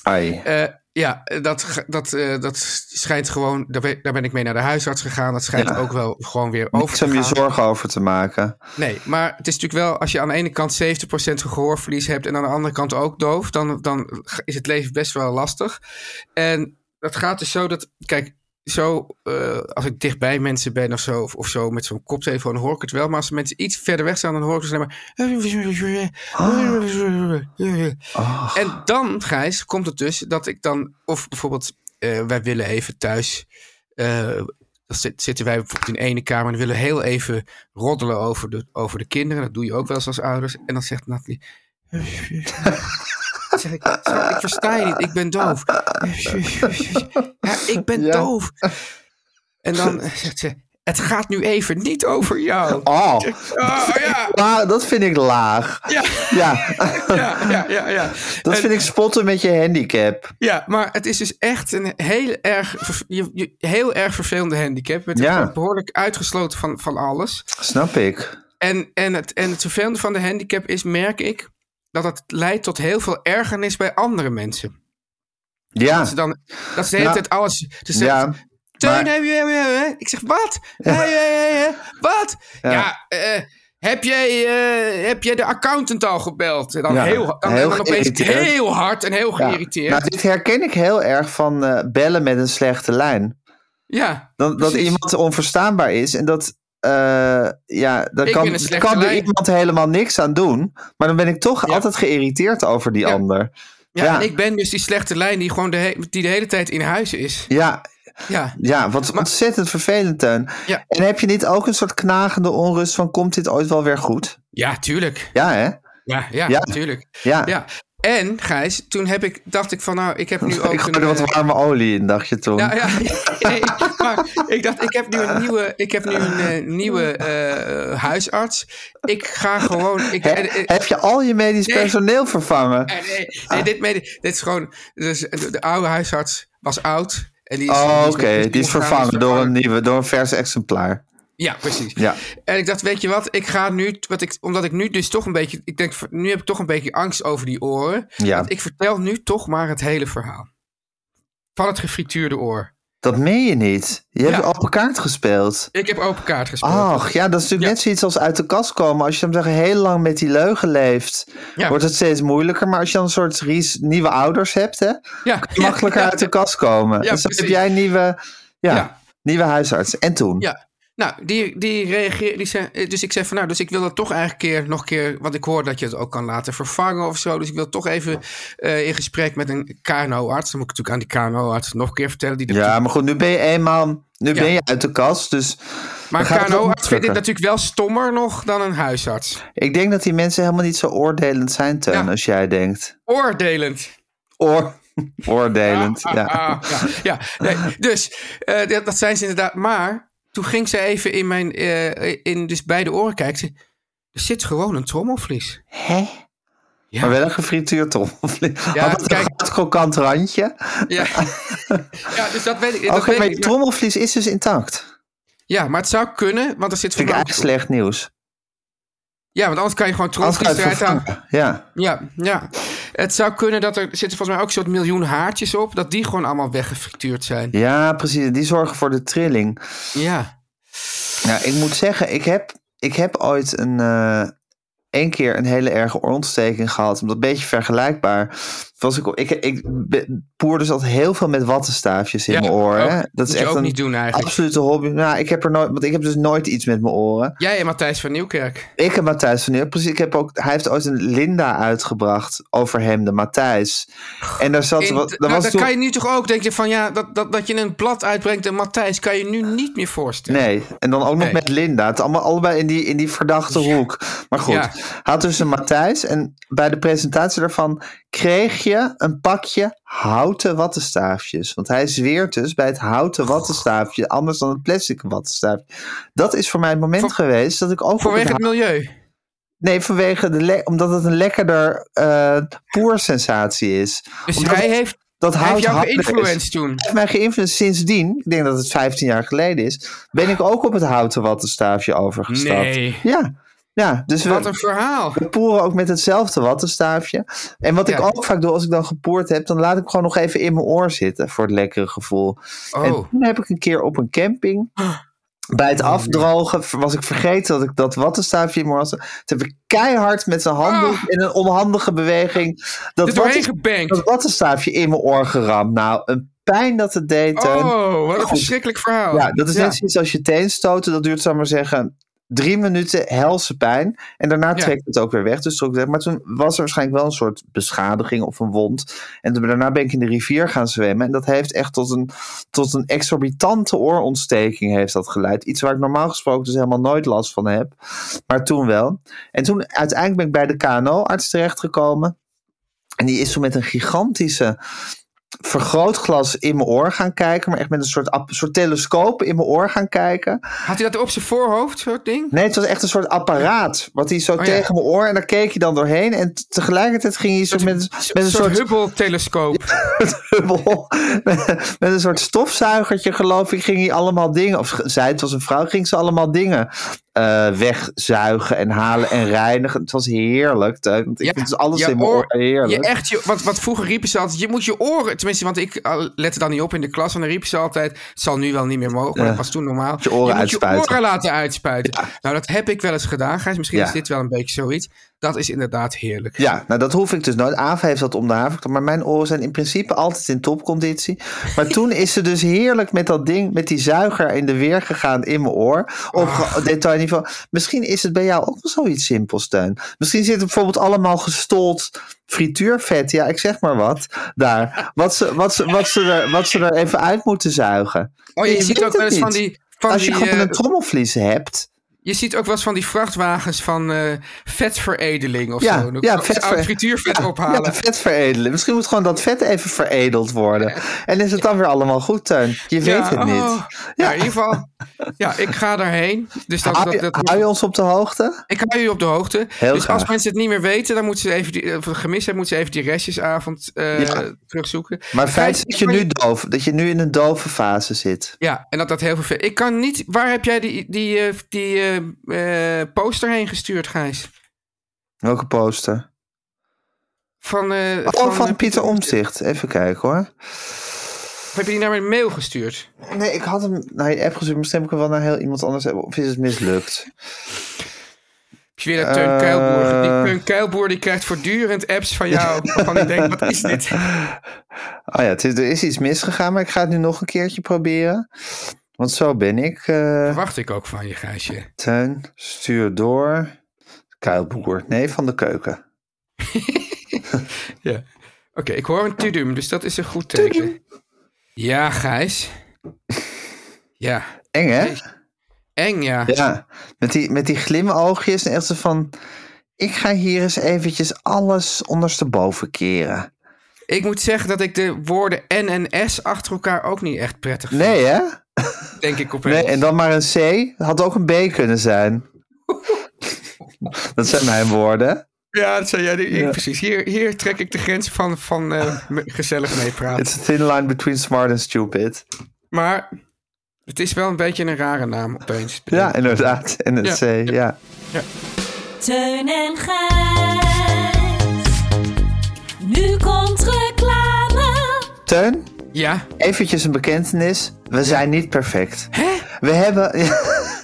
Ai. Eh, ja, dat, ge- dat, eh, dat schijnt gewoon. Daar ben, daar ben ik mee naar de huisarts gegaan. Dat schijnt Ja. ook wel gewoon weer over Niks te om je gaan. zorgen over te maken. Nee, maar het is natuurlijk wel. Als je aan de ene kant 70% gehoorverlies hebt. en aan de andere kant ook doof. dan, dan g- is het leven best wel lastig. En dat gaat dus zo dat. Kijk, zo. eh, als ik dichtbij mensen ben of zo. of, of zo met zo'n koptelefoon hoor ik het wel. Maar als mensen iets verder weg staan. dan hoor ik dus alleen [laughs] maar. Oh, En dan, Gijs, komt het dus dat ik dan, of bijvoorbeeld, eh, wij willen even thuis. eh, dan zit- zitten wij bijvoorbeeld in de ene kamer en willen heel even roddelen over de, over de kinderen. Dat doe je ook wel eens als ouders. En dan zegt Nathalie. [laughs] Dan zeg ik, "Schat, ik versta je niet, ik ben doof. [laughs] Ja, ik ben Ja. doof. En dan zegt ze, het gaat nu even niet over jou. oh. Oh ja, Maar dat vind ik laag. ja, Ja, ja, ja, ja. ja. dat En- vind ik spotten met je handicap. Ja, maar het is dus echt een heel erg, ver- je- je- heel erg vervelende handicap. Met Ja. behoorlijk uitgesloten van, van alles. Snap ik. En, en, het, en het vervelende van de handicap is, merk ik, dat het leidt tot heel veel ergernis bij andere mensen. Ja. Dat ze, dan, dat ze de hele Nou, tijd alles... Dus ze Ja. zeggen, Teun, maar- heb je... heb je- heb je-" Ik zeg, [laughs] wat? Hé, hé, hé, hé, Wat? Ja, Ja. eh, heb jij, eh, heb jij de accountant al gebeld? En dan Ja, heel, dan, heel dan opeens geïrriteerd. heel hard en heel Ja. geïrriteerd. Nou, dit herken ik heel erg van eh, bellen met een slechte lijn. ja, Dan, dat precies. iemand onverstaanbaar is en dat. eh, ja, dan Ik kan, ben een dan slechte kan er lijn. iemand helemaal niks aan doen. Maar dan ben ik toch Ja. altijd geïrriteerd over die Ja. ander. Ja, Ja. en ik ben dus die slechte lijn die gewoon de, he- die de hele tijd in huis is. Ja, Ja, ja wat Maar- ontzettend vervelend, Teun. Ja. En heb je niet ook een soort knagende onrust van... komt dit ooit wel weer goed? ja tuurlijk. Ja, hè? Ja. Ja, ja, Ja. tuurlijk. Ja. En Gijs, toen heb ik, dacht ik van nou, ik heb nu ook [laughs] ik een... gooide wat eh, warme olie in, dacht je toen. ja, ja, [laughs] nee, maar ik dacht, ik heb nu een nieuwe, ik heb nu een eh, nieuwe eh, huisarts. Ik ga gewoon... Ik, Hè? eh, eh, heb je al je medisch Nee. personeel vervangen? eh, nee, nee, dit, mede- dit is gewoon... Dus de, de oude huisarts was oud. En die is, Oh, die oké. is- Die is omgegaan, vervangen door een nieuwe, door een vers exemplaar. Ja, precies. Ja. En ik dacht, weet je wat, ik ga nu, wat ik, omdat ik nu dus toch een beetje, ik denk, nu heb ik toch een beetje angst over die oren. Ja. Want ik vertel nu toch maar het hele verhaal. Van het gefrituurde oor. Dat meen je niet. Je hebt Ja. open kaart gespeeld. Ik heb open kaart gespeeld. Ach, ja, dat is natuurlijk Ja. net zoiets als uit de kast komen. Als je dan heel lang met die leugen leeft, Ja. wordt het steeds moeilijker. Maar als je dan een soort ries, nieuwe ouders hebt, hè, [laughs] ja, [laughs] makkelijker ja, uit de kast komen. Ja, dus dan precies. heb jij een nieuwe, ja, Ja. nieuwe huisarts. En toen? Ja. Nou, die, die reageerde, die zei, eh, dus ik zei van nou, dus ik wil dat toch eigenlijk keer, nog een keer, want ik hoor dat je het ook kan laten vervangen of zo. Dus ik wil toch even eh, in gesprek met een KNO-arts. Dan moet ik natuurlijk aan die KNO-arts nog een keer vertellen. Die dat Ja, maar goed, nu ben je eenmaal, nu Ja. ben je uit de kast. Dus Maar Dan gaat een het ook KNO-arts vindt makkelijker. dit natuurlijk wel stommer nog dan een huisarts. ik denk dat die mensen helemaal niet zo oordelend zijn, Teun, Ja. als jij denkt. Oordelend. Oor, [laughs] oordelend, Ah, ja. [laughs] ah, ja, ja. Nee, dus eh, dat, dat zijn ze inderdaad. Maar toen ging ze even in mijn, eh, in, dus bij de oren kijken. Ze- Er zit gewoon een trommelvlies. Hè? Ja. Maar wel een gefrituurd trommelvlies. Ja, Had het kijk. een glad krokant randje? Ja, [laughs] ja dus dat weet ik. Oké, Dat weet maar je ik. trommelvlies is dus intact. Ja, maar het zou kunnen, want er zit Dat vind ik voornamelijk- eigenlijk slecht nieuws. Ja, want anders kan je gewoon Als trommelvlies eruit halen. Ja. Ja, ja. Het zou kunnen dat er zitten volgens mij ook een soort miljoen haartjes op, dat die gewoon allemaal weggefrituurd zijn. ja, precies. Die zorgen voor de trilling. Ja. Nou, ik moet zeggen, ik heb, ik heb ooit een, eh, één keer een hele erge oorontsteking gehad. Omdat een beetje vergelijkbaar. Was ik, ik, ik be- poer dus altijd heel veel met wattenstaafjes in Ja, mijn oren. ook. hè. dat is Moet je echt ook een niet doen eigenlijk. absolute hobby. Nou, ik heb er nooit, want ik heb dus nooit iets met mijn oren. Jij en Matthijs van Nieuwkerk. Ik heb Matthijs van Nieuwkerk, precies. Ik heb ook, hij heeft ooit een Linda uitgebracht over hem, de Matthijs. En daar zat In- wat. nou, daar was dat toen- kan je nu toch ook denken van ja, dat, dat, dat je een blad uitbrengt en Matthijs kan je nu niet meer voorstellen. Nee, en dan ook nog Nee. met Linda. Het allemaal allebei in die, in die verdachte hoek. Maar goed, Ja. hij had dus een Matthijs. En bij de presentatie daarvan kreeg je een pakje houten wattenstaafjes. Want hij zweert dus bij het Oh. houten wattenstaafje. Anders dan het plastic wattenstaafje. Dat is voor mij het moment Voor- geweest dat ik ook... op Vanwege het het milieu. Nee, vanwege de le- omdat het een lekkerder eh poersensatie is. Dus Omdat hij het- heeft, dat hij heeft jou harder is. geïnfluenced toen. Hij heeft mij geïnfluenced sindsdien, ik denk dat het 15 jaar geleden is, ben ik ook op het houten wattenstaafje overgestapt. Nee. Ja, ja dus Wat we, een verhaal. we poeren ook met hetzelfde wattenstaafje. En wat Ja. ik ook vaak doe als ik dan gepoerd heb, dan laat ik gewoon nog even in mijn oor zitten voor het lekkere gevoel. En Oh. toen heb ik een keer op een camping. Bij het afdrogen was ik vergeten dat ik dat wattenstaafje in mijn oor had. Toen heb ik keihard met zijn handen Ah. in een onhandige beweging dat, Er doorheen watten, Dus gebankt. dat wattenstaafje in mijn oor geramd. Nou, een pijn dat het deed. Teun. Oh, wat een Goed. verschrikkelijk verhaal. Ja, dat is net zoiets als je teen stoten. Dat duurt, zou ik maar zeggen, drie minuten helse pijn. En daarna Ja. trekt het ook weer weg. Dus trok het weg. Maar toen was er waarschijnlijk wel een soort beschadiging of een wond. En toen- daarna ben ik in de rivier gaan zwemmen. En dat heeft echt tot een, tot een exorbitante oorontsteking heeft dat geleid. Iets waar ik normaal gesproken dus helemaal nooit last van heb. Maar toen wel. En toen uiteindelijk ben ik bij de KNO-arts terechtgekomen. En die is toen met een gigantische vergrootglas in mijn oor gaan kijken. Maar echt met een soort, app- soort telescoop in mijn oor gaan kijken. Had hij dat op zijn voorhoofd, soort ding? Nee, het was echt een soort apparaat. Wat hij zo Oh ja. tegen mijn oor. En daar keek je dan doorheen. En t- tegelijkertijd ging hij zo met, met een soort Hubble-telescoop. bubbel. [laughs] met, met een soort stofzuigertje, geloof ik, ging hij allemaal dingen. Of zij, het was een vrouw, ging ze allemaal dingen eh, wegzuigen en halen en reinigen. Het was heerlijk. Teun, Want ik Ja, vind dus alles je in mijn oor- oren heerlijk. Je echt je, want, want vroeger riepen ze altijd, je moet je oren... Tenminste, want ik ah, lette dan niet op in de klas. En dan riepen ze altijd, het zal nu wel niet meer mogen. Maar dat was toen normaal. je oren moet je uitspuiten. oren laten uitspuiten. Nou, dat heb ik wel eens gedaan, Gijs. Misschien Ja. is dit wel een beetje zoiets. Dat is inderdaad heerlijk. Ja, nou dat hoef ik dus nooit. Aaf heeft dat om de haven. Maar mijn oren zijn in principe altijd in topconditie. Maar toen is ze dus heerlijk met dat ding, met die zuiger in de weer gegaan in mijn oor. Op Ah. ge- detailniveau. Misschien is het bij jou ook wel zoiets simpels, Steun. Misschien zit er bijvoorbeeld allemaal gestold frituurvet. Ja, ik zeg maar wat. Daar. Wat ze, wat ze, wat ze, er, wat ze er even uit moeten zuigen. Oh, je, Je ziet weet ook wel het eens van niet. die... Van Als je die, gewoon eh, een trommelvlies hebt. Je ziet ook wel eens van die vrachtwagens van eh, vetveredeling of Ja, zo. Dan ja, kan ze vetver- oud frituurvet ophalen. Ja, vet veredelen. Misschien moet gewoon dat vet even veredeld worden. En is het dan weer allemaal goed, Teun? Je weet het oh. niet. Ja, in ieder geval. Ja, ik ga daarheen. [laughs] Dus dat, Hou, dat, je- dat, hou je ons op de hoogte? ik hou jullie op de hoogte. Heel dus als graag. mensen het niet meer weten, dan moeten ze even die, of het gemist hebben, moeten ze even die restjesavond eh, Ja. terugzoeken. Maar feit Gijs, is ik dat je kan nu doof, dat je nu in een dove fase zit. Ja, en dat dat heel veel. Ik kan niet. Waar heb jij die, die, eh, die eh, eh, poster heen gestuurd, Gijs? Welke poster? Van, eh, Oh, eh, van Pieter Omtzigt. Even kijken hoor. Of heb je die naar mijn mail gestuurd? Nee, ik had hem naar je app gestuurd. Misschien heb ik hem wel naar heel iemand anders. hebben. Of is het mislukt? Heb je weer dat Teun Eh. Kuilboer? Die Teun Kuilboer die krijgt voortdurend apps van [laughs] jou. Waarvan ik denk, wat is dit? [laughs] Oh ja, het is, er is iets misgegaan, maar ik ga het nu nog een keertje proberen. Want zo ben ik. eh. Verwacht ik ook van je, Gijsje. Tuin, stuur door. Kuilboer. Nee, van de keuken. Ja. Oké, ik hoor een tudum, dus dat is een goed teken. Ja, Gijs. Ja. Eng, hè? Eng, ja. Ja. Met die, met die glimoogjes en echt zo van... Ik ga hier eens eventjes alles ondersteboven keren. Ik moet zeggen dat ik de woorden N en S achter elkaar ook niet echt prettig vind. Nee, hè? Denk ik opeens. Nee, en dan maar een C. Had ook een B kunnen zijn. Dat zijn mijn woorden. Ja, dat zei jij. die- Precies. Hier, hier trek ik de grens van, van [laughs] eh, me- gezellig meepraten. It's a thin line between smart and stupid. Maar het is wel een beetje een rare naam opeens. Ja, inderdaad. En een Ja. C, ja. Teun en Gijs. Nu komt reclame. Teun, Ja. eventjes een bekentenis. We zijn niet perfect. We hebben...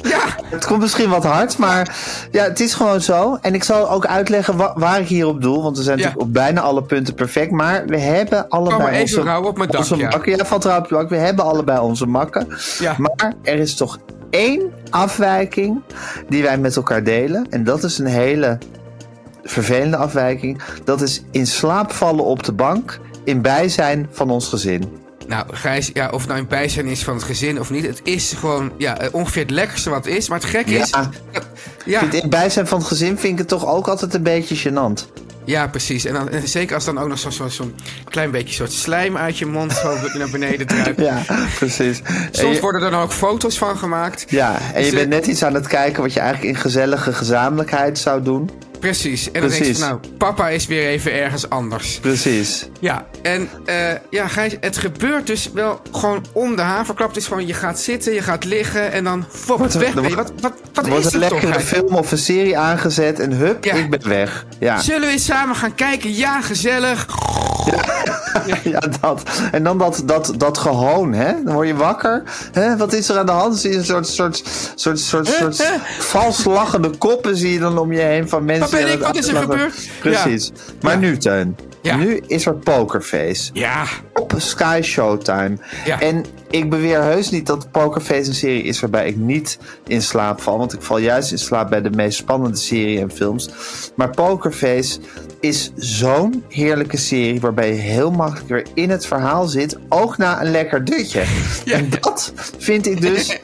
Ja. Het komt misschien wat hard, maar ja, het is gewoon zo. En ik zal ook uitleggen wa- waar ik hier op doel. Want we zijn Ja. Oh, natuurlijk op bijna alle punten perfect. Maar we hebben allebei maar even onze, rauw op mijn dak, onze ja. makken. Ja, valt rauw op je dak. We hebben allebei onze makken. Ja. Maar er is toch één afwijking die wij met elkaar delen. En dat is een hele vervelende afwijking. Dat is in slaap vallen op de bank in bijzijn van ons gezin. Nou, Gijs, ja, of het nou in bijzijn is van het gezin of niet. Het is gewoon ja, eh, ongeveer het lekkerste wat is. Maar het gekke is... Ja. Ja, In het bijzijn van het gezin vind ik het toch ook altijd een beetje gênant. ja, precies. En, dan, en zeker als dan ook nog zo'n zo, zo'n klein beetje soort slijm uit je mond zo [laughs] naar beneden druipt. Ja, precies. En Soms Eh, je- worden er dan ook foto's van gemaakt. Ja, en je Dus, bent eh, net iets aan het kijken wat je eigenlijk in gezellige gezamenlijkheid zou doen. Precies. En dan denk Precies. je van, nou, papa is weer even ergens anders. Precies. Ja, en eh, ja, Gijs, het gebeurt dus wel gewoon om de haverklap. Het is gewoon, je gaat zitten, je gaat liggen en dan fop, Wordt er- weg er ben je. wordt- Wat, wat, wat Er wordt is een het toch, lekkere Gijs? film of een serie aangezet en hup, Ja. ik ben weg. Ja. Zullen we eens samen gaan kijken? Ja, gezellig. [laughs] ja, dat. En dan dat, dat, dat gehoon, hè? Dan word je wakker. Hè? Wat is er aan de hand? Zie je een soort, soort, soort, soort, soort [laughs] hè? vals lachende koppen zie je dan om je heen van mensen. Waar ben die aan het ik? Wat is er aflachen. gebeurd? Precies. Maar Ja. nu, Teun. Ja. Nu is er Pokerface. Ja. op Sky Showtime. Ja. En ik beweer heus niet dat Pokerface een serie is waarbij ik niet in slaap val. Want ik val juist in slaap bij de meest spannende serie en films. Maar Pokerface is zo'n heerlijke serie waarbij je heel makkelijk weer in het verhaal zit. Ook na een lekker [laughs] dutje. En dat vind ik dus...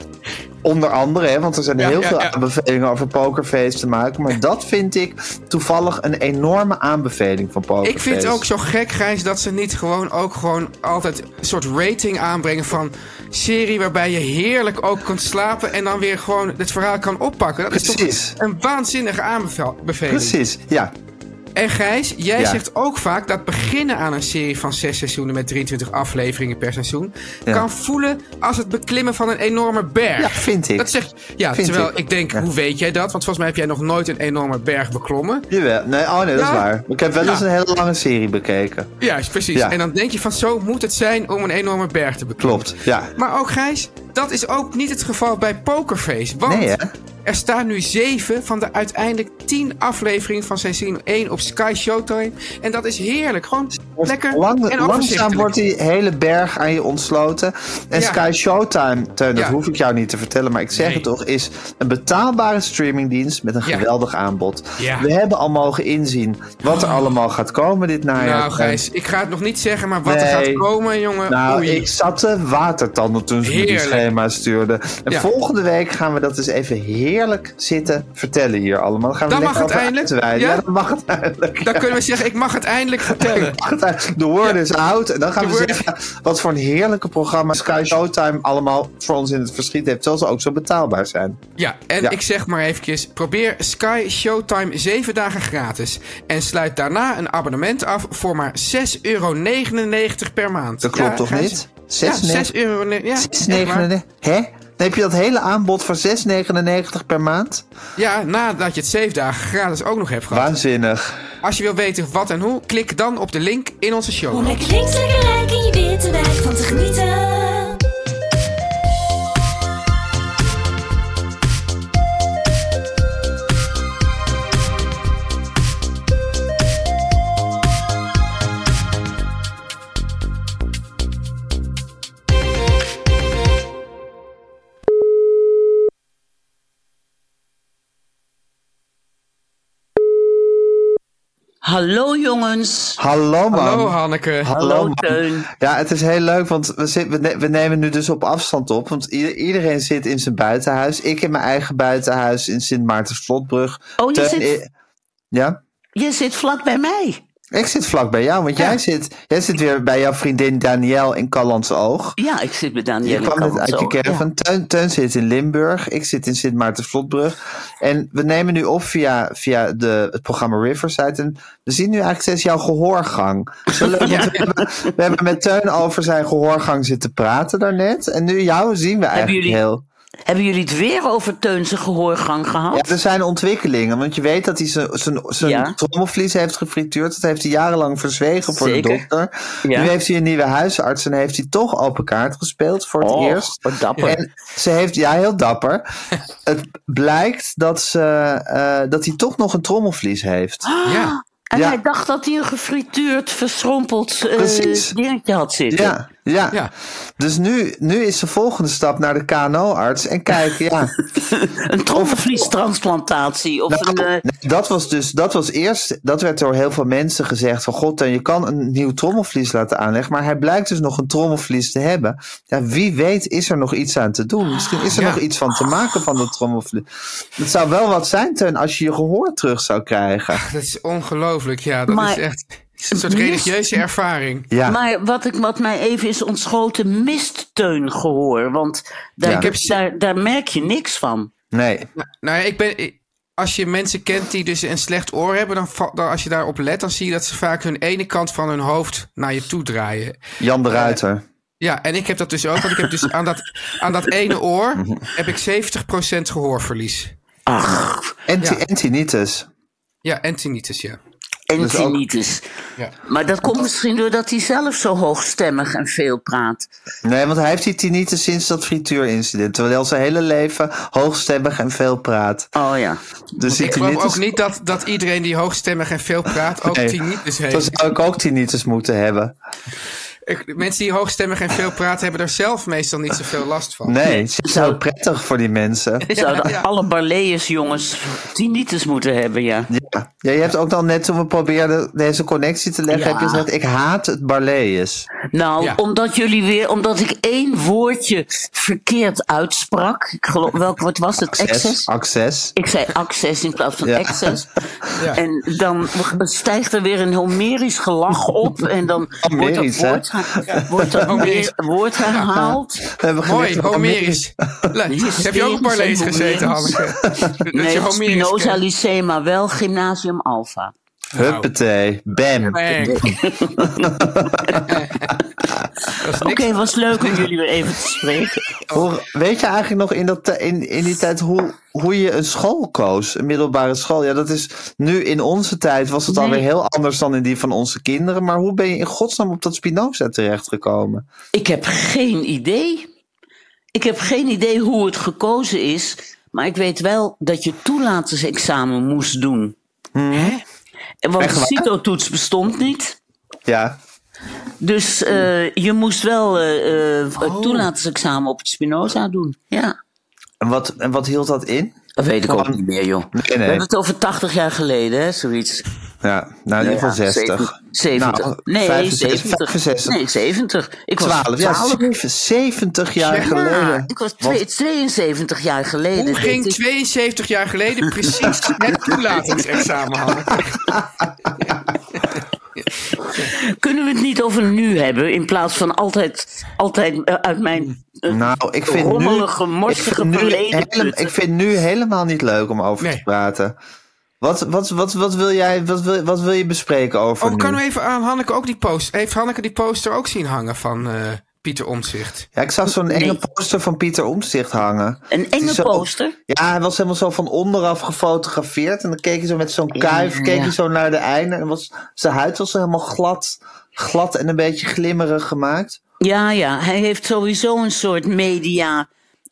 Onder andere, hè, want er zijn Ja, heel ja, veel ja. aanbevelingen over Pokerface te maken. Maar dat vind ik toevallig een enorme aanbeveling van Pokerface. Ik vind het ook zo gek, Gijs, dat ze niet gewoon ook gewoon altijd een soort rating aanbrengen van serie waarbij je heerlijk ook kunt slapen en dan weer gewoon het verhaal kan oppakken. Dat is Precies. toch een waanzinnige aanbeveling. Precies, ja. En Gijs, jij Ja. zegt ook vaak dat beginnen aan een serie van zes seizoenen met 23 afleveringen per seizoen Ja. kan voelen als het beklimmen van een enorme berg. Ja, vind ik. Dat zeg, ja, Vind terwijl ik, ik. denk, Ja. hoe weet jij dat? Want volgens mij heb jij nog nooit een enorme berg beklommen. Jawel. Nee, oh nee, dat Ja. is waar. Ik heb wel Ja. eens een hele lange serie bekeken. Juist, precies. Ja. En dan denk je van zo moet het zijn om een enorme berg te beklimmen. Klopt, ja. Maar ook Gijs, dat is ook niet het geval bij Pokerface. Want Nee, hè? er staan nu zeven van de uiteindelijk tien afleveringen van seizoen 1 op Sky Showtime. En dat is heerlijk. Gewoon lekker Lang- en langzaam overzichtelijk. wordt die hele berg aan je ontsloten. En Ja. Sky Showtime, Teun, dat Ja. hoef ik jou niet te vertellen, maar ik zeg Nee. het toch, is een betaalbare streamingdienst met een Ja. geweldig aanbod. Ja. Oh. We hebben al mogen inzien wat er allemaal gaat komen dit najaar. Nou Gijs, ik ga het nog niet zeggen, maar wat er gaat Nee. komen, jongen. Nou, oei. ik zat te watertanden toen ze me die Heerlijk. schema stuurden. En Ja. volgende week gaan we dat eens even heerlijk zitten vertellen hier allemaal. Dan, gaan we Dan lekker mag het over eindelijk, uitweiden. ja? Ja? dan mag het eindelijk. Dan kunnen we zeggen, ik mag het eindelijk [laughs] vertellen. De word is out. En dan gaan De we word- zeggen wat voor een heerlijke programma Sky Showtime allemaal voor ons in het verschiet heeft. Terwijl ze ook zo betaalbaar zijn. Ja, en Ja. ik zeg maar eventjes, probeer Sky Showtime 7 dagen gratis. En sluit daarna een abonnement af voor maar 6,99 euro per maand. Dat klopt Ja, toch Gijs? niet? Ja, 6,99. 6 euro. ne- Ja, echt waar. 6,99. Hè? Dan heb je dat hele aanbod voor 6,99 per maand? ja, nadat je het 7 dagen gratis ook nog hebt gehad. Waanzinnig. Als je wil weten wat en hoe, klik dan op de link in onze show. Om Oh, lekker links, lekker rijk in je witte wijk van te genieten. Hallo jongens. Hallo man. Hallo Hanneke. Hallo, man. Teun. Ja, het is heel leuk, want we, zit, we, ne- we nemen nu dus op afstand op. Want ieder- iedereen zit in zijn buitenhuis. Ik in mijn eigen buitenhuis in Sint Maartensvlotbrug. Oh, je Teun zit- i- Ja? Je zit vlak bij mij. Ik zit vlak bij jou, want jij, zit, jij zit weer bij jouw vriendin Danielle in Callandse Oog. Ja, ik zit bij Je Danielle. kwam net uit je Kalmthoog. caravan. Ja. Teun, Teun zit in Limburg. Ik zit in Sint Maartensvlotbrug. En we nemen nu op via, via de, het programma Riverside. En we zien nu eigenlijk steeds jouw gehoorgang. [laughs] Zo leuk, want we, hebben, we hebben met Teun over zijn gehoorgang zitten praten daarnet. En nu jou zien we eigenlijk jullie- heel... Hebben jullie het weer over Teunse gehoorgang gehad? Ja, er zijn ontwikkelingen, want je weet dat hij zijn- zijn zijn Ja. trommelvlies heeft gefrituurd. Dat heeft hij jarenlang verzwegen voor de Zeker. dokter. Ja. Nu heeft hij een nieuwe huisarts en heeft hij toch open kaart gespeeld voor het Och, eerst. Oh, wat dapper. En ze heeft, ja, heel dapper. het blijkt dat, ze, eh, dat hij toch nog een trommelvlies heeft. Ja. En Ja. hij dacht dat hij een gefrituurd, verschrompeld eh, Precies. dingetje had zitten. Ja, ja. Ja. Dus nu, nu is de volgende stap naar de KNO-arts en kijken, ja. Een trommelvliestransplantatie. Of Nou, een, eh, nee, dat was dus, dat was eerst, dat werd door heel veel mensen gezegd van god, dan je kan een nieuw trommelvlies laten aanleggen, maar hij blijkt dus nog een trommelvlies te hebben. Ja, wie weet is er nog iets aan te doen. Misschien is er Ja. nog iets van te maken van dat trommelvlies. Het zou wel wat zijn, Teun, als je je gehoor terug zou krijgen. Dat is ongelooflijk, ja. Dat Maar- is echt een soort religieuze ervaring. Ja, Maar wat, ik, wat mij even is ontschoten, mistteungehoor. Want daar, Ja. Ik heb- daar, daar merk je niks van. nee. Nou ja, ik ben... ik- Als je mensen kent die dus een slecht oor hebben, dan, va- dan als je daarop let, dan zie je dat ze vaak hun ene kant van hun hoofd naar je toe draaien. Jan de Ruiter. Ja, en ik heb dat dus ook, want ik heb dus aan dat, aan dat ene oor heb ik 70% gehoorverlies. En ja. Antinitis. Ja, en tinnitus, ja. En Dus ook- tinnitus. Ja. Maar dat komt misschien doordat hij zelf zo hoogstemmig en veel praat. Nee, want hij heeft die tinnitus sinds dat frituurincident. Terwijl hij al zijn hele leven hoogstemmig en veel praat. Oh ja. Dus die Ik geloof tinnitus- ook niet dat, dat iedereen die hoogstemmig en veel praat ook Nee. tinnitus Dan heeft. zou ik ook tinnitus moeten hebben. Ik- mensen die hoogstemmig en veel praten hebben daar zelf meestal niet zoveel last van. Nee, het is heel prettig voor die mensen. [laughs] Zouden alle Barlees jongens tinnitus moeten hebben, ja. Ja. Ja, je hebt ook dan net toen we probeerden deze connectie te leggen, Ja. heb je gezegd, ik haat het Barlees. Nou, Ja. omdat jullie weer, omdat ik één woordje verkeerd uitsprak. Ik geloof, welk woord was het? Excess? Access. Ik zei access in plaats van Ja. excess. [laughs] Ja. En dan stijgt er weer een Homerisch gelach op. En dan wordt Homerisch, dat hè? woord, wordt dat Homerisch. weer- woord [laughs] herhaald. We hebben Mooi, geleerd van Homerisch. Homerisch. [laughs] Le- Heb je ook Barlees Homerisch. gezeten, Hanneke? Dat Nee, je Homerisch Spinoza kent. Lycema, wel Gymnasium Alpha. Huppatee, bam. Bang. Dat is niks. Oké, was leuk om jullie weer even te spreken. Hoe- weet je eigenlijk nog in, dat, ti- in, in die tijd hoe, hoe je een school koos? Een middelbare school. Ja, dat is nu in onze tijd was het alweer heel anders dan in die van onze kinderen. Maar hoe ben je in godsnaam op dat Spinoza terechtgekomen? Ik heb geen idee. Ik heb geen idee hoe het gekozen is. Maar ik weet wel dat je toelatingsexamen moest doen. Hm? En Want de CITO-toets bestond niet. Ja, Dus Hm. eh, je moest wel eh, eh, het toelatingsexamen op het Spinoza doen. Ja, en wat, en wat hield dat in? dat weet ik ook Gewoon- niet meer, joh. Nee, We nee. hebben het over 80 jaar geleden, hè, zoiets. Ja, nou in ieder geval 60. 70. Nou, nee, 65, 70. 65. Nee, 70. Ik was 12, ja, 12. 7- 70 jaar Ja, geleden. ik was twee- 72 jaar geleden. Hoe deed ging ik- 72 jaar geleden precies [laughs] het toelatingsexamen, Hanneke? Kunnen we het niet over nu hebben in plaats van altijd, altijd eh, uit mijn. eh, Nou, ik vind, nu, rommelige, ik, morsige vind nu verleden helem- putten. ik vind nu helemaal niet leuk om over te Nee. praten. Wat, wat, wat, wat, wil jij, wat, wil, wat wil je bespreken over Oh, nu? kan we even aan Hanneke ook die post? Heeft Hanneke die poster ook zien hangen van eh, Pieter Omzicht? Ja, ik zag zo'n enge Nee. poster van Pieter Omtzigt hangen. Een Die enge zo- poster. Ja, hij was helemaal zo van onderaf gefotografeerd. En dan keek hij zo met zo'n kuif, keek ja. hij zo naar de einde. En was, zijn huid was zo helemaal glad, glad en een beetje glimmerig gemaakt. Ja, ja. Hij heeft sowieso een soort media.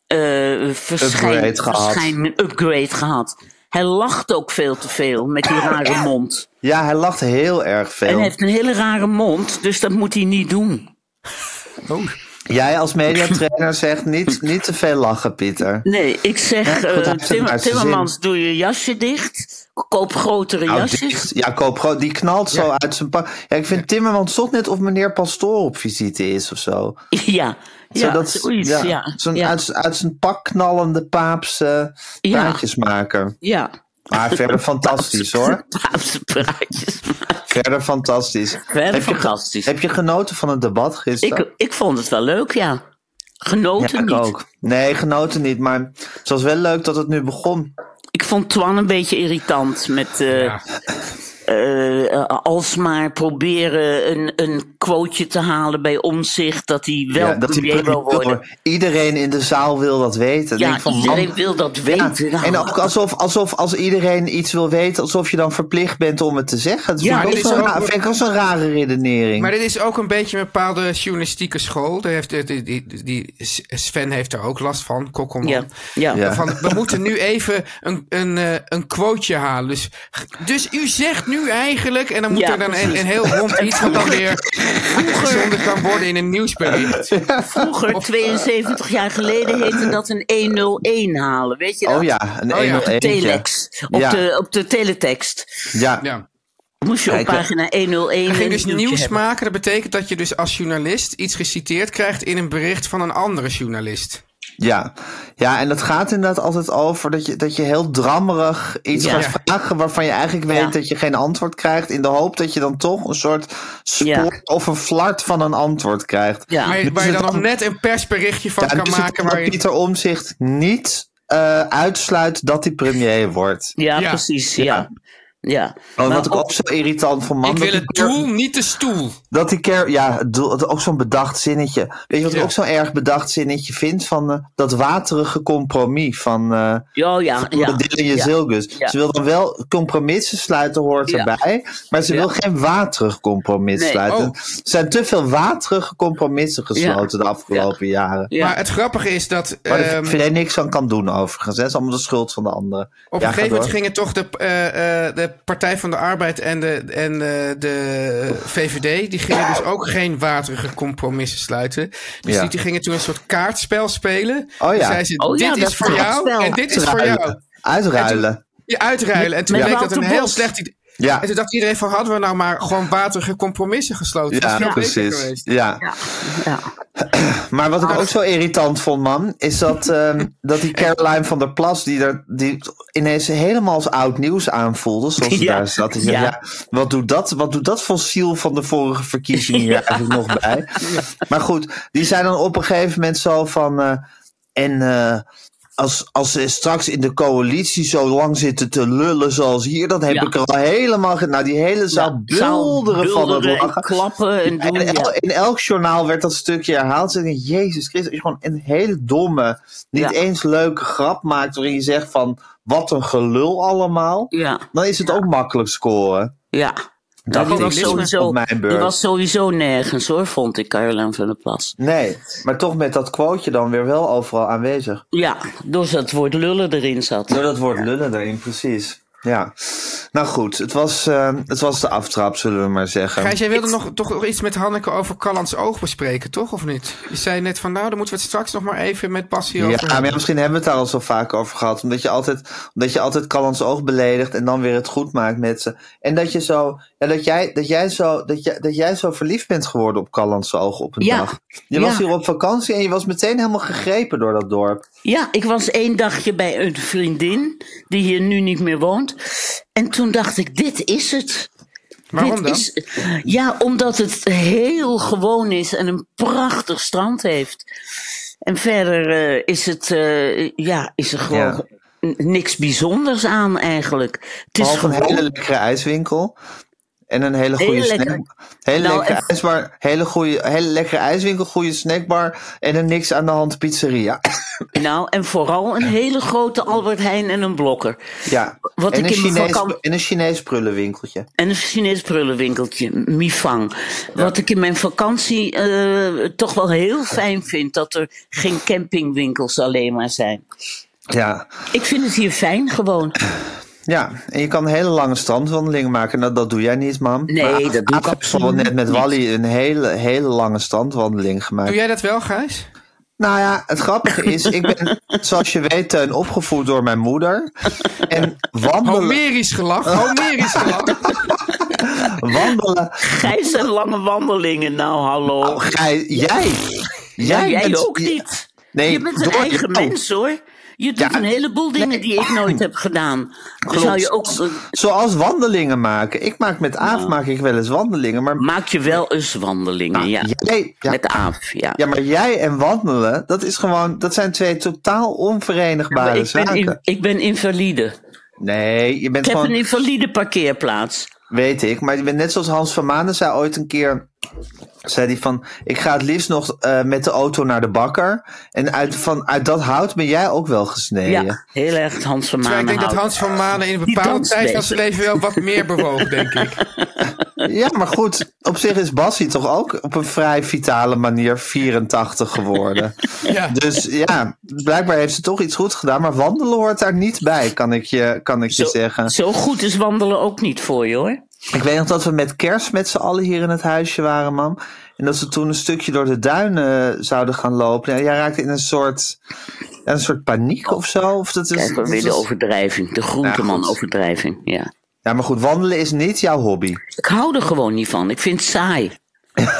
eh verschijn, Upgrade gehad. verschijn- upgrade gehad. Hij lacht ook veel te veel met Ah, die rare mond. Ja, hij lacht heel erg En veel. hij heeft een hele rare mond, dus dat moet hij niet doen. Oh. Jij als mediatrainer zegt niet, niet te veel lachen, Pieter. Nee, ik zeg, Ja, goed, eh, hij heeft het Timmer- naar zijn Timmermans, doe je jasje dicht. Koop grotere Nou, jasjes. dicht. Ja, koop gewoon. Die knalt zo uit zijn pak. Ja, ik vind Timmermans toch net of meneer Pastoor op visite is of zo. [laughs] Ja, ja Zodat- zoiets. Ja, ja. Zo'n ja. uit, uit zijn pak knallende paapse Ja. praatjes maken. Maar [laughs] verder fantastisch hoor. Paapse praatjes. Verder fantastisch. Verder heb, je, fantastisch. heb je genoten van het debat gisteren? Ik, ik vond het wel leuk, ja. Genoten ja, ik niet. ook. Nee, genoten niet. Maar het was wel leuk dat het nu begon. Ik vond Twan een beetje irritant met... eh, Ja. eh, alsmaar proberen een, een quoteje te halen bij omzicht dat hij wel Ja, dat hij premier wil premier wil worden. worden. Iedereen in de zaal wil dat weten. Ja, Denk van, iedereen man, wil dat ja, weten. Ah, Nou, en ook alsof, alsof als iedereen iets wil weten, alsof je dan verplicht bent om het te zeggen. Dat Ja, vind, ik dit ook is zo'n ook- ra- vind ik ook zo'n rare redenering. Maar dit is ook een beetje een bepaalde journalistieke school. Daar heeft, eh, die, die, die- Sven heeft daar ook last van, Kokkelman. ja, ja. Ja. Van, we moeten nu even een, een, eh, een quoteje halen. Dus, dus u zegt nu eigenlijk, en dan moet Ja, er dan een, precies. een heel rond iets wat dan weer gezonden kan worden in een nieuwsbericht. Vroeger, eh, 72 jaar geleden, heette dat een 101 halen. Weet je dat? oh ja, een Oh ja. 101. Telex. Op, Ja. de, op de teletext. Ja. Ja. Moest je Kijk, op pagina 101 Je ging een dus nieuwtje nieuws hebben. maken. Dat betekent dat je dus als journalist iets geciteerd krijgt in een bericht van een andere journalist. Ja. ja, en dat gaat inderdaad altijd over dat je, dat je heel drammerig iets Ja. gaat vragen waarvan je eigenlijk weet Ja. dat je geen antwoord krijgt. In de hoop dat je dan toch een soort spoor Ja. of een flart van een antwoord krijgt. Maar, Ja. waar je het dan nog dan- net een persberichtje van Ja, kan dus maken. ik Waar denk dat je, Pieter Omzicht niet eh, uitsluit dat hij premier wordt. Ja, Ja. precies. Ja. ja. Oh, Maar wat ik ook zo irritant van man. Nou, dat ik wil die het keer- doel, niet de stoel. Dat die keer, ja, het doel- het- ook zo'n bedacht zinnetje. Weet je wat ik Ja. ook zo'n erg bedacht zinnetje vind? Van eh, dat waterige compromis van, eh Ja, ja, van ja. Dylan ja. Jezilgus. Ja. Ze wil dan wel compromissen sluiten, hoort Ja. erbij. Maar ze Ja. wil geen waterig compromis Nee. sluiten. Oh. Er zijn te veel waterige compromissen gesloten de afgelopen jaren. Ja. Maar het grappige is dat. Waar de ehm, VVD niks aan kan doen overigens. hè. Het is allemaal de schuld van de anderen. Op Ja, een ga gegeven moment door. gingen toch de, eh, eh, de Partij van de Arbeid en de, en eh, de VVD... die gingen dus ook geen waterige compromissen sluiten. Dus Ja. die, die gingen toen een soort kaartspel spelen. Oh ja. Dan zeiden ze, Oh ja, dit dat is voor jou kaartspel. en dit is voor jou. Uitruilen. Je uitruilen. En toen Met bleek dat Wouter een heel Bos. slecht idee. Ja. En toen dacht iedereen van, hadden we nou maar gewoon waterige compromissen gesloten. dat Ja, is veel beter precies. geweest. Ja. Ja. Ja. Maar wat ik ook zo irritant vond, man, is dat, ehm, dat die Caroline van der Plas, die, er, die ineens helemaal als oud nieuws aanvoelde, zoals ze Ja. daar zat. Ik dacht, Ja. ja, wat, doet dat, wat doet dat fossiel van de vorige verkiezingen hier eigenlijk nog bij? Maar goed, die zei dan op een gegeven moment zo van. eh, en eh, als, als ze straks in de coalitie zo lang zitten te lullen zoals hier, dan heb Ja. ik er al helemaal. ge- Nou, die hele zaal bulderen van het bulderen en lachen. klappen en doen. En el- ja. in elk journaal werd dat stukje herhaald. Ze denken, Jezus Christus, als je gewoon een hele domme, niet Ja. eens leuke grap maakt waarin je zegt van wat een gelul allemaal, Ja, dan is het ook makkelijk scoren. ja. Dat die, is was niet op sowieso, mijn beurt. die was sowieso nergens hoor, vond ik, Caroline van der Plas. Nee, maar toch met dat quoteje dan weer wel overal aanwezig. Ja, doordat het woord lullen erin zat. Door dat woord lullen erin, precies. Ja, nou goed, het was, eh, het was de aftrap, zullen we maar zeggen. Gijs, jij wilde nog, toch nog iets met Hanneke over Callans oog bespreken, toch? Of niet? Je zei net van, nou, dan moeten we het straks nog maar even met Bas hierover Ja, maar ja, misschien hebben we het daar al zo vaak over gehad. Omdat je altijd, omdat je altijd Callans oog beledigt en dan weer het goed maakt met ze. En dat je zo, ja, dat jij, dat jij zo, dat jij, dat jij zo verliefd bent geworden op Callans oog op een Ja. dag. Je Ja. was hier op vakantie en je was meteen helemaal gegrepen door dat dorp. Ja, ik was één dagje bij een vriendin die hier nu niet meer woont. En toen dacht ik, dit is het. Waarom Dit dan? is- ja, omdat het heel gewoon is en een prachtig strand heeft. En verder eh, is, het, eh, ja, is er gewoon n- niks bijzonders aan eigenlijk. Het is Behalve een gewoon... hele lekkere ijswinkel. En een hele goede Hele snack. lekkere- Hele, Nou, lekkere en- ijsbar, hele, goede, hele lekkere ijswinkel, goede snackbar. En een niks aan de hand pizzeria. Nou, en vooral een hele grote Albert Heijn en een blokker. ja. Wat en, ik een in mijn Chinees, vakan- en een Chinees prullenwinkeltje. En een Chinees prullenwinkeltje, Mifang. Wat ik in mijn vakantie eh, toch wel heel fijn vind, dat er geen campingwinkels alleen maar zijn. Ja. Ik vind het hier fijn gewoon. Ja, en je kan hele lange strandwandelingen maken. Nou, dat doe jij niet, mam. Nee, Maar dat doe ik Aaf heeft wel absoluut net met niet. Wally een hele, hele lange strandwandeling gemaakt. Doe jij dat wel, Gijs? Nou ja, het grappige is, ik ben, zoals je weet, Teun, opgevoed door mijn moeder. En wandelen, Homerisch gelach, Homerisch [laughs] gelach. wandelen. Gijs en lange wandelingen, nou hallo. Nou, Gij, Oh, jij, jij bent- ook niet. Nee, je bent een door eigen jou. mens hoor. Je doet Ja, een heleboel dingen die ik nooit heb gedaan. Klopt. Zou je ook, eh, Zoals wandelingen maken. Ik maak met Aaf maak ik wel eens wandelingen, maar maak je wel eens wandelingen, ja. jij, Ah, ja, Met Aaf, ja. ja, maar jij en wandelen, dat is gewoon, dat zijn twee totaal onverenigbare Maar ik, ben zaken. in- ik ben invalide. Nee, je bent Ik heb gewoon. een invalide parkeerplaats. Weet ik, maar net zoals Hans van Manen zei ooit een keer, zei hij van, ik ga het liefst nog eh, met de auto naar de bakker. En uit, van, uit dat hout ben jij ook wel gesneden. Ja, heel erg Hans van Terwijl Manen nou, ik denk dat houden. Hans van Manen in een Die bepaalde danst tijd van beter. zijn leven wel wat meer bewoog, denk ik. [laughs] Ja, maar goed, op zich is Bassie toch ook op een vrij vitale manier 84 geworden. Ja. Dus ja, blijkbaar heeft ze toch iets goed gedaan. Maar wandelen hoort daar niet bij, kan ik je, kan ik je zeggen. Zo goed is wandelen ook niet voor je hoor. Ik weet nog dat we met kerst met z'n allen hier in het huisje waren, mam. En dat ze toen een stukje door de duinen zouden gaan lopen. Ja, jij raakte in een soort, een soort paniek of zo. Of dat is, Kijk, maar dat weer de is- overdrijving. De groenteman overdrijving, ja. ja, maar goed, wandelen is niet jouw hobby. [laughs] Ik hou er gewoon niet van. Ik vind het saai. Ik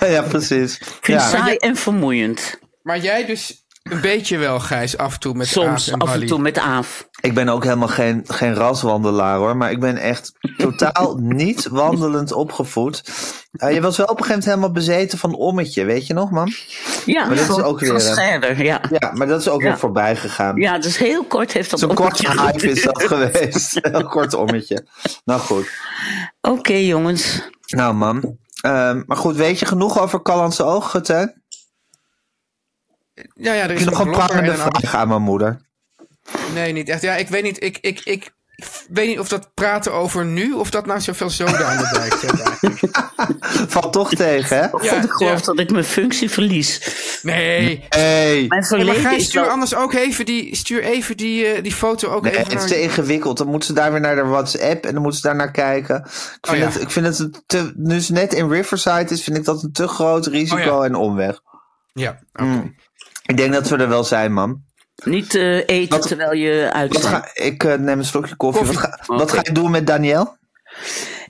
ja, precies. vind het Ja. saai en vermoeiend. Maar jij dus een beetje wel, Gijs, af en toe met Aaf Soms en af en Wally. toe met Aaf. Ik ben ook helemaal geen, geen raswandelaar hoor, maar ik ben echt [laughs] totaal niet wandelend opgevoed. Eh, je was wel op een gegeven moment helemaal bezeten van ommetje, weet je nog, man? Ja, Maar dat is van- ook weer, van hè? Scherder, ja. Ja, maar dat is ook Ja. weer voorbij gegaan. Ja, dus heel kort heeft dat Zo'n ook kort een keer hype is dat [laughs] geduurd. geweest. Heel kort ommetje. Nou goed. Oké, jongens. Nou, man. Ehm, maar goed, weet je genoeg over Callandse ogen, Teun? Heb Ja, ja, er is je nog een blogger en prangende een ander- vraag aan mijn moeder? Nee, niet echt. Ja, ik weet niet. Ik, ik, ik, ik weet niet of dat praten over nu, of dat nou zoveel zoden aan de dijk zet. eigenlijk. Valt toch tegen, [laughs] hè? Ja, ik geloof ja. dat ik mijn functie verlies. Nee. Hey. Mijn Hey, maar verleden Gijs, is wel- stuur anders ook even die, stuur even die, eh, die foto ook Nee, even het is naar- te ingewikkeld. Dan moeten ze daar weer naar de WhatsApp en dan moeten ze daar naar kijken. Ik vind, Oh ja. het, ik vind het een te, nu ze net in Riverside is, vind ik dat een te groot risico Oh ja. en omweg. Ja, Mm, oké. Ik denk dat we er wel zijn, man. Niet eh, eten Wat- terwijl je Wat uitstaat. ga, ik eh, neem een slokje koffie. Koffie. Wat, ga, wat ga je doen met Daniel?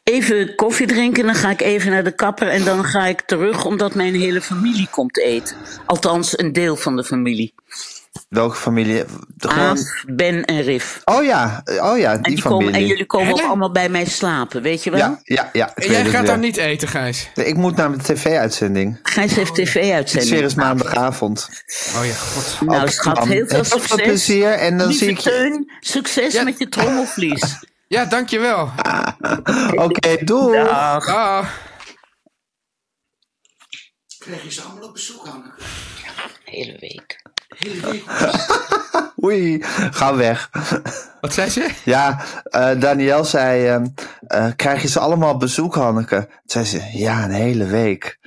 Even koffie drinken, dan ga ik even naar de kapper en dan ga ik terug omdat mijn hele familie komt eten. Althans, een deel van de familie. Welke familie? De Ah, Aaf, gewoon- Ben en Rif. Oh ja, oh ja, die, En, familie. die komen, en jullie komen ook Hè? allemaal bij mij slapen, weet je wel? ja, ja, ja. ik En weet jij het gaat weer. dan niet eten, Gijs. Nee, Ik moet naar de tv-uitzending. Gijs heeft Het weer tv-uitzending. is maandagavond. Oh ja, god. Nou, Ook, schat, man. heel veel veel succes. plezier en dan Lieve zie ik je. Teun, succes Ja. met je trommelvlies. Ja, dankjewel. Ah. Oké, doei. Dag. Dag. Hele week. Oei, ga weg. [laughs] Wat zei ze? Ja, eh Daniel zei, ehm, eh, krijg je ze allemaal op bezoek, Hanneke? Toen zei ze, ja, een hele week.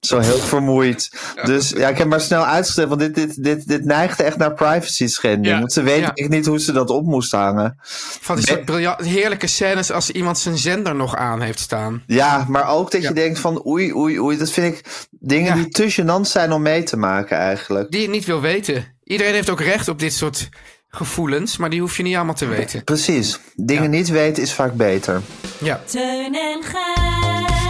Zo [laughs] heel vermoeid. Dus ja, ik heb maar snel uitgesteld, want dit, dit, dit, dit neigde echt naar privacy schending. Ja, want ze weet ja. echt niet hoe ze dat op moest hangen. Van die soort briljant, heerlijke scènes als iemand zijn zender nog aan heeft staan. Ja, maar ook dat Ja. je denkt van oei, oei, oei. Dat vind ik dingen Ja. die te gênant zijn om mee te maken eigenlijk. Die je niet wil weten. Iedereen heeft ook recht op dit soort gevoelens, maar die hoef je niet allemaal te weten. Precies. Dingen Ja. niet weten is vaak beter. Ja. Teun en Gijs.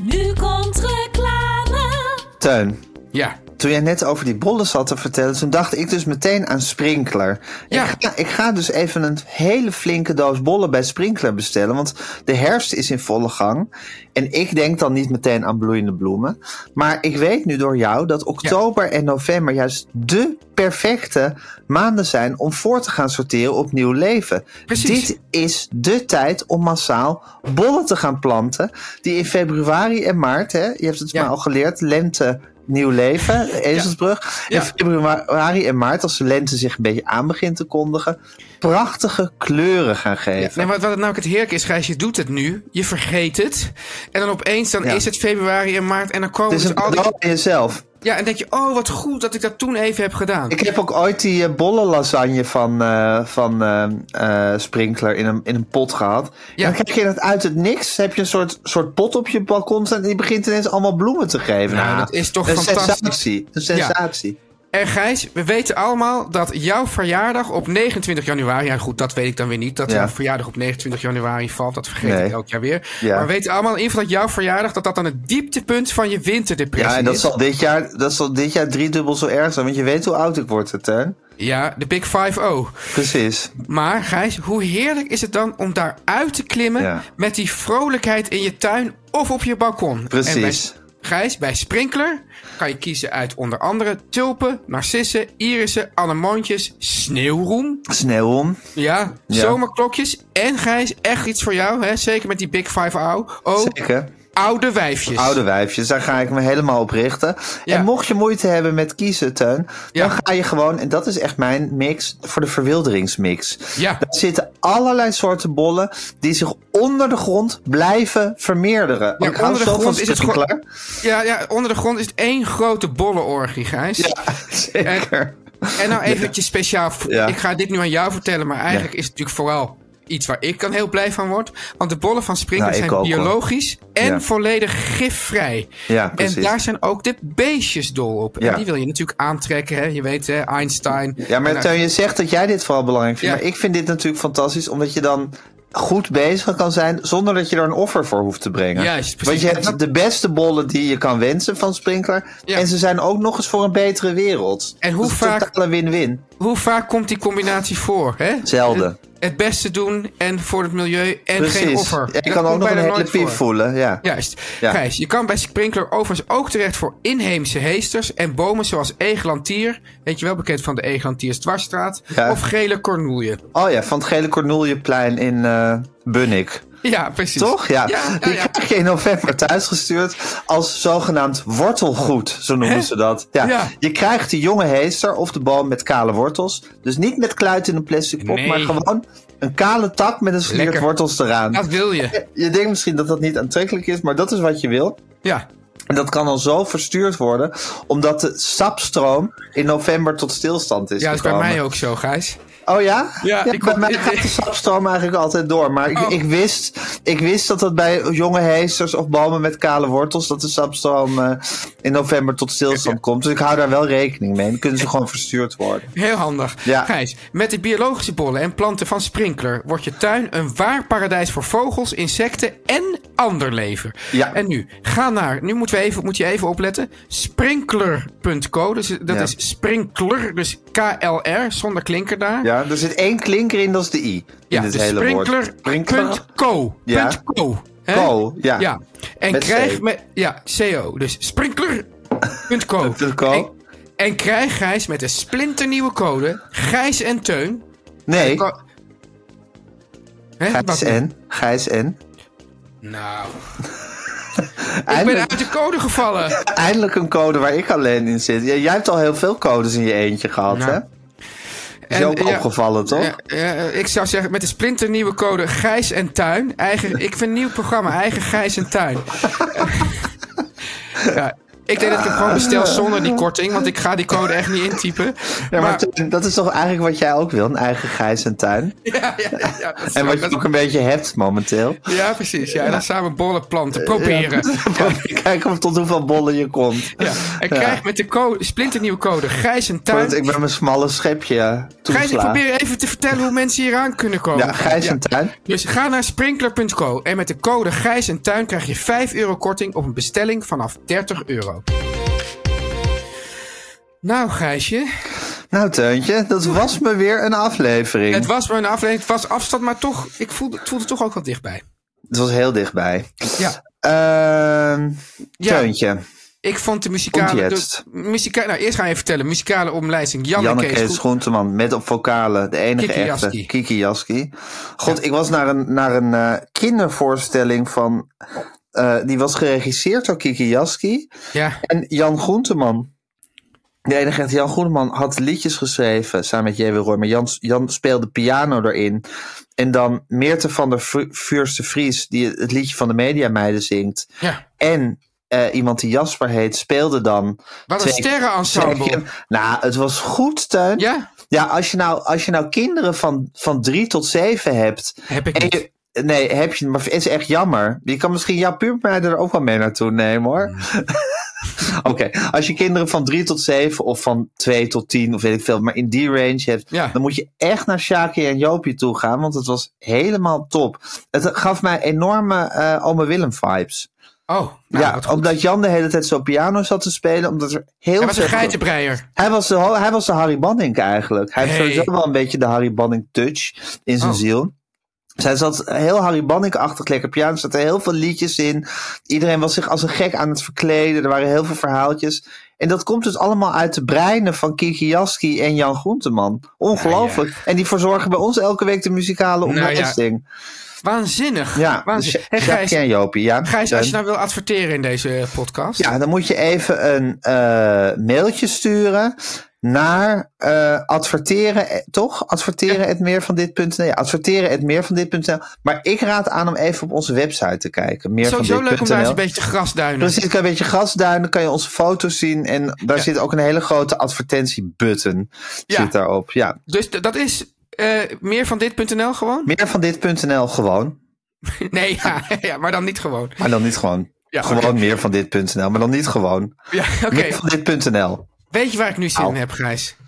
Nu komt reclame. Teun, Ja. Toen jij net over die bollen zat te vertellen, toen dacht ik dus meteen aan Sprinkler. Ja. Ik, ga, ik ga dus even een hele flinke doos bollen bij Sprinkler bestellen, want de herfst is in volle gang. En ik denk dan niet meteen aan bloeiende bloemen. Maar ik weet nu door jou dat oktober en november juist de perfecte maanden zijn om voor te gaan sorteren op nieuw leven. Precies. Dit is de tijd om massaal bollen te gaan planten, die in februari en maart, hè, je hebt het Ja. maar al geleerd, lente nieuw leven, Ezelsbrug. Ja. In februari en maart, als de lente zich een beetje aan begint te kondigen, prachtige kleuren gaan geven. Nee, maar wat nou ook het heerlijk is, Gijs, je doet het nu, je vergeet het. En dan opeens, dan Ja. is het februari en maart en dan komen het is dus een al die... cadeau aan jezelf. Ja, en denk je, oh, wat goed dat ik dat toen even heb gedaan. Ik heb ook ooit die eh, bollenlasagne van, eh, van eh, eh, Sprinkler in een, in een pot gehad. Ja. En dan krijg je dat uit het niks. Heb je een soort, soort pot op je balkon staan en die begint ineens allemaal bloemen te geven. Nou, dat is toch een fantastisch. sensatie. Een sensatie. En Gijs, we weten allemaal dat jouw verjaardag op 29 januari... Ja, goed, dat weet ik dan weer niet. Dat Ja. jouw verjaardag op 29 januari valt, dat vergeet Nee. ik elk jaar weer. Ja. Maar we weten allemaal in ieder geval dat jouw verjaardag... dat dat dan het dieptepunt van je winterdepressie Ja, en dat is. zal, dit jaar, dat zal dit jaar driedubbel zo erg zijn. Want je weet hoe oud ik word, hè, Teun. Ja, de Big Five O. Precies. Maar Gijs, hoe heerlijk is het dan om daar uit te klimmen... Ja. met die vrolijkheid in je tuin of op je balkon. En bij Precies. Gijs, bij Sprinkler kan je kiezen uit onder andere tulpen, narcissen, irissen, anemoontjes, sneeuwroem. Sneeuw om. Ja, Ja. zomerklokjes. En Gijs, echt iets voor jou, hè? zeker met die Big Five au. Oh, Zeker. oude wijfjes. [laughs] Oude wijfjes, daar ga ik me helemaal op richten. Ja. En mocht je moeite hebben met kiezen, Teun, Ja. dan ga je gewoon, en dat is echt mijn mix, voor de verwilderingsmix. Ja. Daar zitten allerlei soorten bollen die zich onder de grond blijven vermeerderen. Ja, Ik hou onder de zo van grond is het sprinkler. gewoon- Ja, ja, onder de grond is het één grote bollenorgie, Gijs. [laughs] Zeker. En nou eventjes speciaal. v- Ja. Ik ga dit nu aan jou vertellen, maar eigenlijk Ja. is het natuurlijk vooral iets waar ik dan heel blij van word. Want de bollen van Sprinkler Nou, ik zijn ook, hoor. biologisch en Ja. volledig gifvrij. Ja, precies. en daar zijn ook de beestjes dol op. Ja. En die wil je natuurlijk aantrekken. Hè? Je weet, hè, Einstein. Ja, maar En, nou- eh, Teun, je zegt dat jij dit vooral belangrijk vindt. Ja. Maar ik vind dit natuurlijk fantastisch, omdat je dan goed bezig kan zijn zonder dat je er een offer voor hoeft te brengen. Juist, precies. Want je hebt de beste bollen die je kan wensen van Sprinkler. Ja. En ze zijn ook nog eens voor een betere wereld. En hoe Dat is een vaak- totale win-win. Hoe vaak komt die combinatie voor? Hè? Zelden. Het, het beste doen en voor het milieu en geen Precies. offer. Ja, je kan Dat komt ook nog een bijna hele nooit piep voor. voelen. Ja. Juist. Ja. Gijs, je kan bij Sprinkler overigens ook terecht voor inheemse heesters en bomen zoals egelantier. Weet je wel, bekend van de egelantiers dwarsstraat. Ja. Of gele kornoelje. Oh ja, van het gele Cornoelplein in eh Bunnik. Ja, precies. Toch? Ja. ja, ja, Die ja. krijg je in november thuisgestuurd als zogenaamd wortelgoed, zo noemen ze dat. Ja. Ja. Je krijgt de jonge heester of de boom met kale wortels. Dus niet met kluit in een plastic pot, Nee. maar gewoon een kale tak met een sliert Lekker. wortels eraan. Dat wil je. Je denkt misschien dat dat niet aantrekkelijk is, maar dat is wat je wil. Ja. En dat kan al zo verstuurd worden, omdat de sapstroom in november tot stilstand is ja, dat is bij gekomen. mij ook zo, Gijs. Oh ja? Ja, ik bij kom- mij ik- gaat de sapstroom eigenlijk altijd door. Maar ik, Oh. ik, wist, ik wist dat dat bij jonge heesters of bomen met kale wortels... dat de sapstroom eh, in november tot stilstand komt. Dus ik hou daar wel rekening mee. Dan kunnen ze gewoon verstuurd worden. Heel handig. Ja. Gijs, met de biologische bollen en planten van Sprinkler wordt je tuin een waar paradijs voor vogels, insecten en ander leven. Ja. En nu, ga naar, nu moeten we even, moet je even opletten, sprinkler.co. Dus dat Ja. is sprinkler, dus KLR, zonder klinker daar. Ja, er zit één klinker in, dat is de i. Ja, in dit dus hele woord. Sprinkler? sprinkler.co. Ja. Punt Co. hè? Co, ja. ja. En Met krijg C. met, ja, CO. Dus sprinkler.co. [laughs] Punt co. En, en krijg Gijs met een splinternieuwe code, Gijs en Teun. Nee, Ko- Hè, wat Gijs nu? en. Gijs en. Nou, ik ben Eindelijk, uit de code gevallen. eindelijk een code waar ik alleen in zit. Ja, jij hebt al heel veel codes in je eentje gehad, Nou. hè? Is je En, ook ja, opgevallen, toch? Ja, ja, eh, ik zou zeggen, met de splinternieuwe code Gijs en Tuin. Eigen, ik vind een nieuw programma, eigen Gijs en Tuin. [laughs] ja, ik denk dat ik hem gewoon bestel zonder die korting, want ik ga die code echt niet intypen. Ja, maar Maar- Teun, dat is toch eigenlijk wat jij ook wil, een eigen grijs en tuin. [laughs] Ja, ja, ja, dat is En wat waar. je ook een beetje hebt momenteel. [laughs] ja precies. Ja, en dan samen bollen planten. Proberen. Kijken of tot hoeveel bollen je komt. Ja. En krijg met de code, splinternieuwe code Gijs en Want ik Tuin. ben mijn smalle schepje Gijs, ik toeslaan. probeer even te vertellen hoe mensen hier aan kunnen komen. Ja, grijs Ja. en tuin. Dus ga naar sprinkler.co en met de code Gijs en Tuin krijg je 5 euro korting op een bestelling vanaf 30 euro. Nou, Gijsje, Nou, Teuntje, dat was me weer een aflevering. het was maar een aflevering, het was afstand, maar toch, ik voelde, het voelde toch ook wat dichtbij. Het was heel dichtbij. Ja, Ehm Ja. Teuntje, ik vond de muzikale... Komt De, jetzt. muzika, nou, eerst ga je vertellen, muzikale omlijsting, Janneke Janneke is goed. Schoenteman met op vocalen, de enige Kiki echte Jaski. Kiki Jaski. God, ik was naar een, naar een eh, kindervoorstelling van... eh, die was geregisseerd door Kiki Jaski. Ja, En Jan Groenteman. De enige echt, Jan Groenteman had liedjes geschreven samen met J.W. Roy. Maar Jan, Jan speelde piano erin. En dan Meerte van der Vu- Vuurste Vries, die het liedje van de Mediameiden zingt. ja. En eh, iemand die Jasper heet, speelde dan. Wat een twee- sterrenensemble. twee- Nou, het was goed, Teun. Ja, Ja, als je nou, als je nou kinderen van, van drie tot zeven hebt. heb ik En niet. je, nee, heb je, maar is echt jammer. Je kan misschien jouw pubermeiden er ook wel mee naartoe nemen hoor. Mm. [laughs] Oké, als je kinderen van drie tot zeven of van twee tot tien of weet ik veel, maar in die range hebt, Ja. dan moet je echt naar Shaki en Jopie toe gaan, want het was helemaal top. Het gaf mij enorme eh Ome Willem vibes. Oh, nou, ja, wat goed. omdat Jan de hele tijd zo piano zat te spelen, omdat er heel Hij was een veel- geitenbreier. hij was, de, hij was de Harry Banning eigenlijk. Hij heeft Hey. sowieso wel een beetje de Harry Banning touch in zijn Oh. ziel. Zij zat heel Harry Bannick-achtig lekker piano. Er zaten heel veel liedjes in. Iedereen was zich als een gek aan het verkleden. Er waren heel veel verhaaltjes. En dat komt dus allemaal uit de breinen van Kiki Jaski en Jan Groenteman. Ongelooflijk. Ja, En die verzorgen bij ons elke week de muzikale Nou ja. onderwijsding. Waanzinnig. ja, Waanzinnig. dus Hey, Jacques Gijs, en Jopie. Ja, Gijs, als je En- nou wil adverteren in deze eh, podcast. ja, dan moet je even een eh, mailtje sturen naar eh, adverteren, eh, toch? Adverteren het meer van dit.nl. Ja, adverteren het meer van dit.nl. Maar ik raad aan om even op onze website te kijken. Meer Sowieso van leuk om daar eens een dit.nl. beetje te grasduinen. Precies, kan je een beetje grasduinen, dan kan je onze foto's zien. En daar Ja. zit ook een hele grote advertentiebutton Ja. zit daarop. Ja. Dus d- dat is eh, meer van dit.nl gewoon? [laughs] Meer van dit.nl gewoon. Nee, ja, [laughs] ja, maar dan niet gewoon. Maar dan niet gewoon. [laughs] Ja, gewoon oké. meer van dit.nl, maar dan niet gewoon. Ja, [laughs] oké. Meer van dit.nl. Weet je waar ik nu zin in Au. heb, Gijs? Even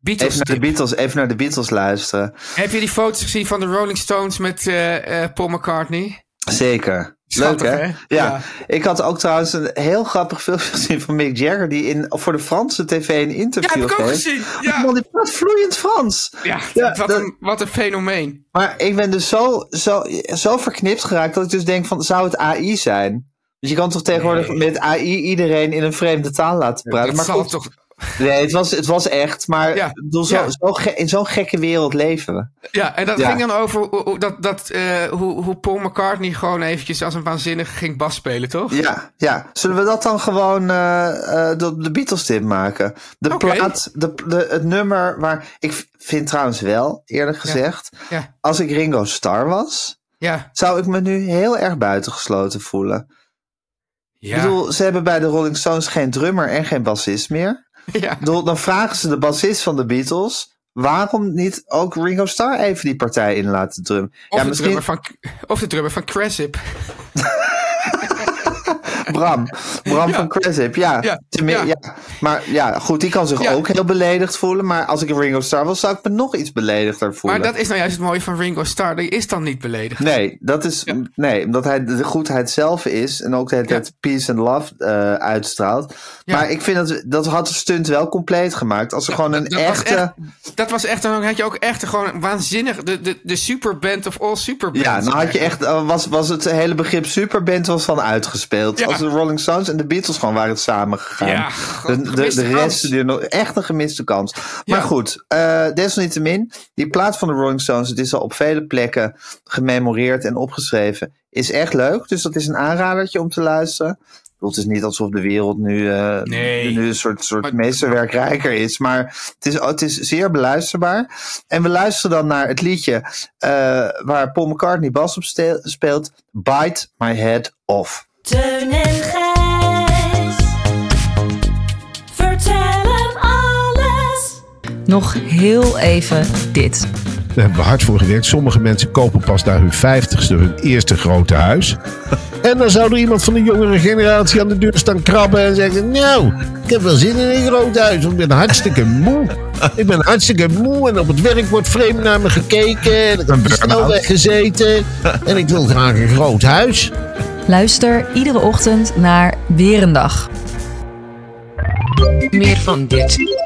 Beatles. naar, de Beatles, even naar de Beatles luisteren. Heb je die foto's gezien van de Rolling Stones met eh, eh, Paul McCartney? Zeker. Schattig, Leuk hè? hè? Ja. Ja. Ik had ook trouwens een heel grappig filmpje gezien van Mick Jagger die in, voor de Franse tv een Ja, interview heb ik ook geeft. gezien. Ja, Man, die praat vloeiend Frans. ja, wat, dat- een, wat een fenomeen. Maar ik ben dus zo, zo, zo verknipt geraakt dat ik dus denk van, zou het AI zijn? Dus je kan toch tegenwoordig met AI iedereen in een vreemde taal laten praten. Dat maar zal goed, toch... nee, het was, het was echt. Maar Ja, ik bedoel, zo, ja. zo ge- in zo'n gekke wereld leven we. Ja, en dat Ja. ging dan over hoe, hoe- dat, dat, eh, hoe, hoe Paul McCartney gewoon eventjes als een waanzinnige ging bas spelen, toch? [laughs] Ja, ja. Zullen we dat dan gewoon eh, eh, de, de Beatles tip maken? De Oké. plaat, de, de, het nummer waar... Ik v- vind trouwens wel, eerlijk gezegd, Ja, als ik Ringo Starr was, ja. zou ik me nu heel erg buitengesloten voelen. ja. Ik bedoel, ze hebben bij de Rolling Stones geen drummer en geen bassist meer. ja. Ik bedoel, dan vragen ze de bassist van de Beatles... waarom niet ook Ringo Starr even die partij in laten drummen? Of, ja, de misschien... drummer van, of de drummer van Cressip. Bram. Bram Ja. van Cressip, ja. Ja, Tenmi- ja. ja. Maar ja, goed, die kan zich Ja. ook heel beledigd voelen... maar als ik een Ringo Starr was, zou ik me nog iets beledigder voelen. Maar dat is nou juist het mooie van Ringo Starr. Die is dan niet beledigd. Nee, dat is, nee, omdat hij de goedheid zelf is en ook de hele Ja. tijd peace and love eh, uitstraalt. Ja. Maar ik vind dat dat had de stunt wel compleet gemaakt. Als er gewoon een dat was echte. echt- dat was echt, dan had je ook echt gewoon een waanzinnig, de, de, de superband of all superbands. Ja, nou had je echt, eh, was, was het hele begrip superband was van uitgespeeld. Ja. Als de Rolling Stones en de Beatles gewoon waren samen gegaan. Ja, de, de, gemiste de kans. rest, die nog, echt een gemiste kans. Maar goed, eh, desalniettemin, die plaat van de Rolling Stones, het is al op vele plekken gememoreerd en opgeschreven, is echt leuk. Dus dat is een aanradertje om te luisteren. Ik bedoel, Het is niet alsof de wereld nu, eh, Nee. nu een soort, soort Maar- meesterwerk rijker is. Maar het is, het is zeer beluisterbaar. En we luisteren dan naar het liedje eh, waar Paul McCartney bas op steel- speelt. Bite My Head Off. Teun en Gijs. Vertel hem alles. Nog heel even dit. Daar hebben we hard voor gewerkt. Sommige mensen kopen pas na hun vijftigste hun eerste grote huis. En dan zou er iemand van de jongere generatie aan de deur staan krabben en zeggen... Nou, ik heb wel zin in een groot huis, want ik ben hartstikke moe. Ik ben hartstikke moe en op het werk wordt vreemd naar me gekeken. En ik heb op de snelweg gezeten. En ik wil graag een groot huis. Luister iedere ochtend naar Weer een Dag. Meer van dit.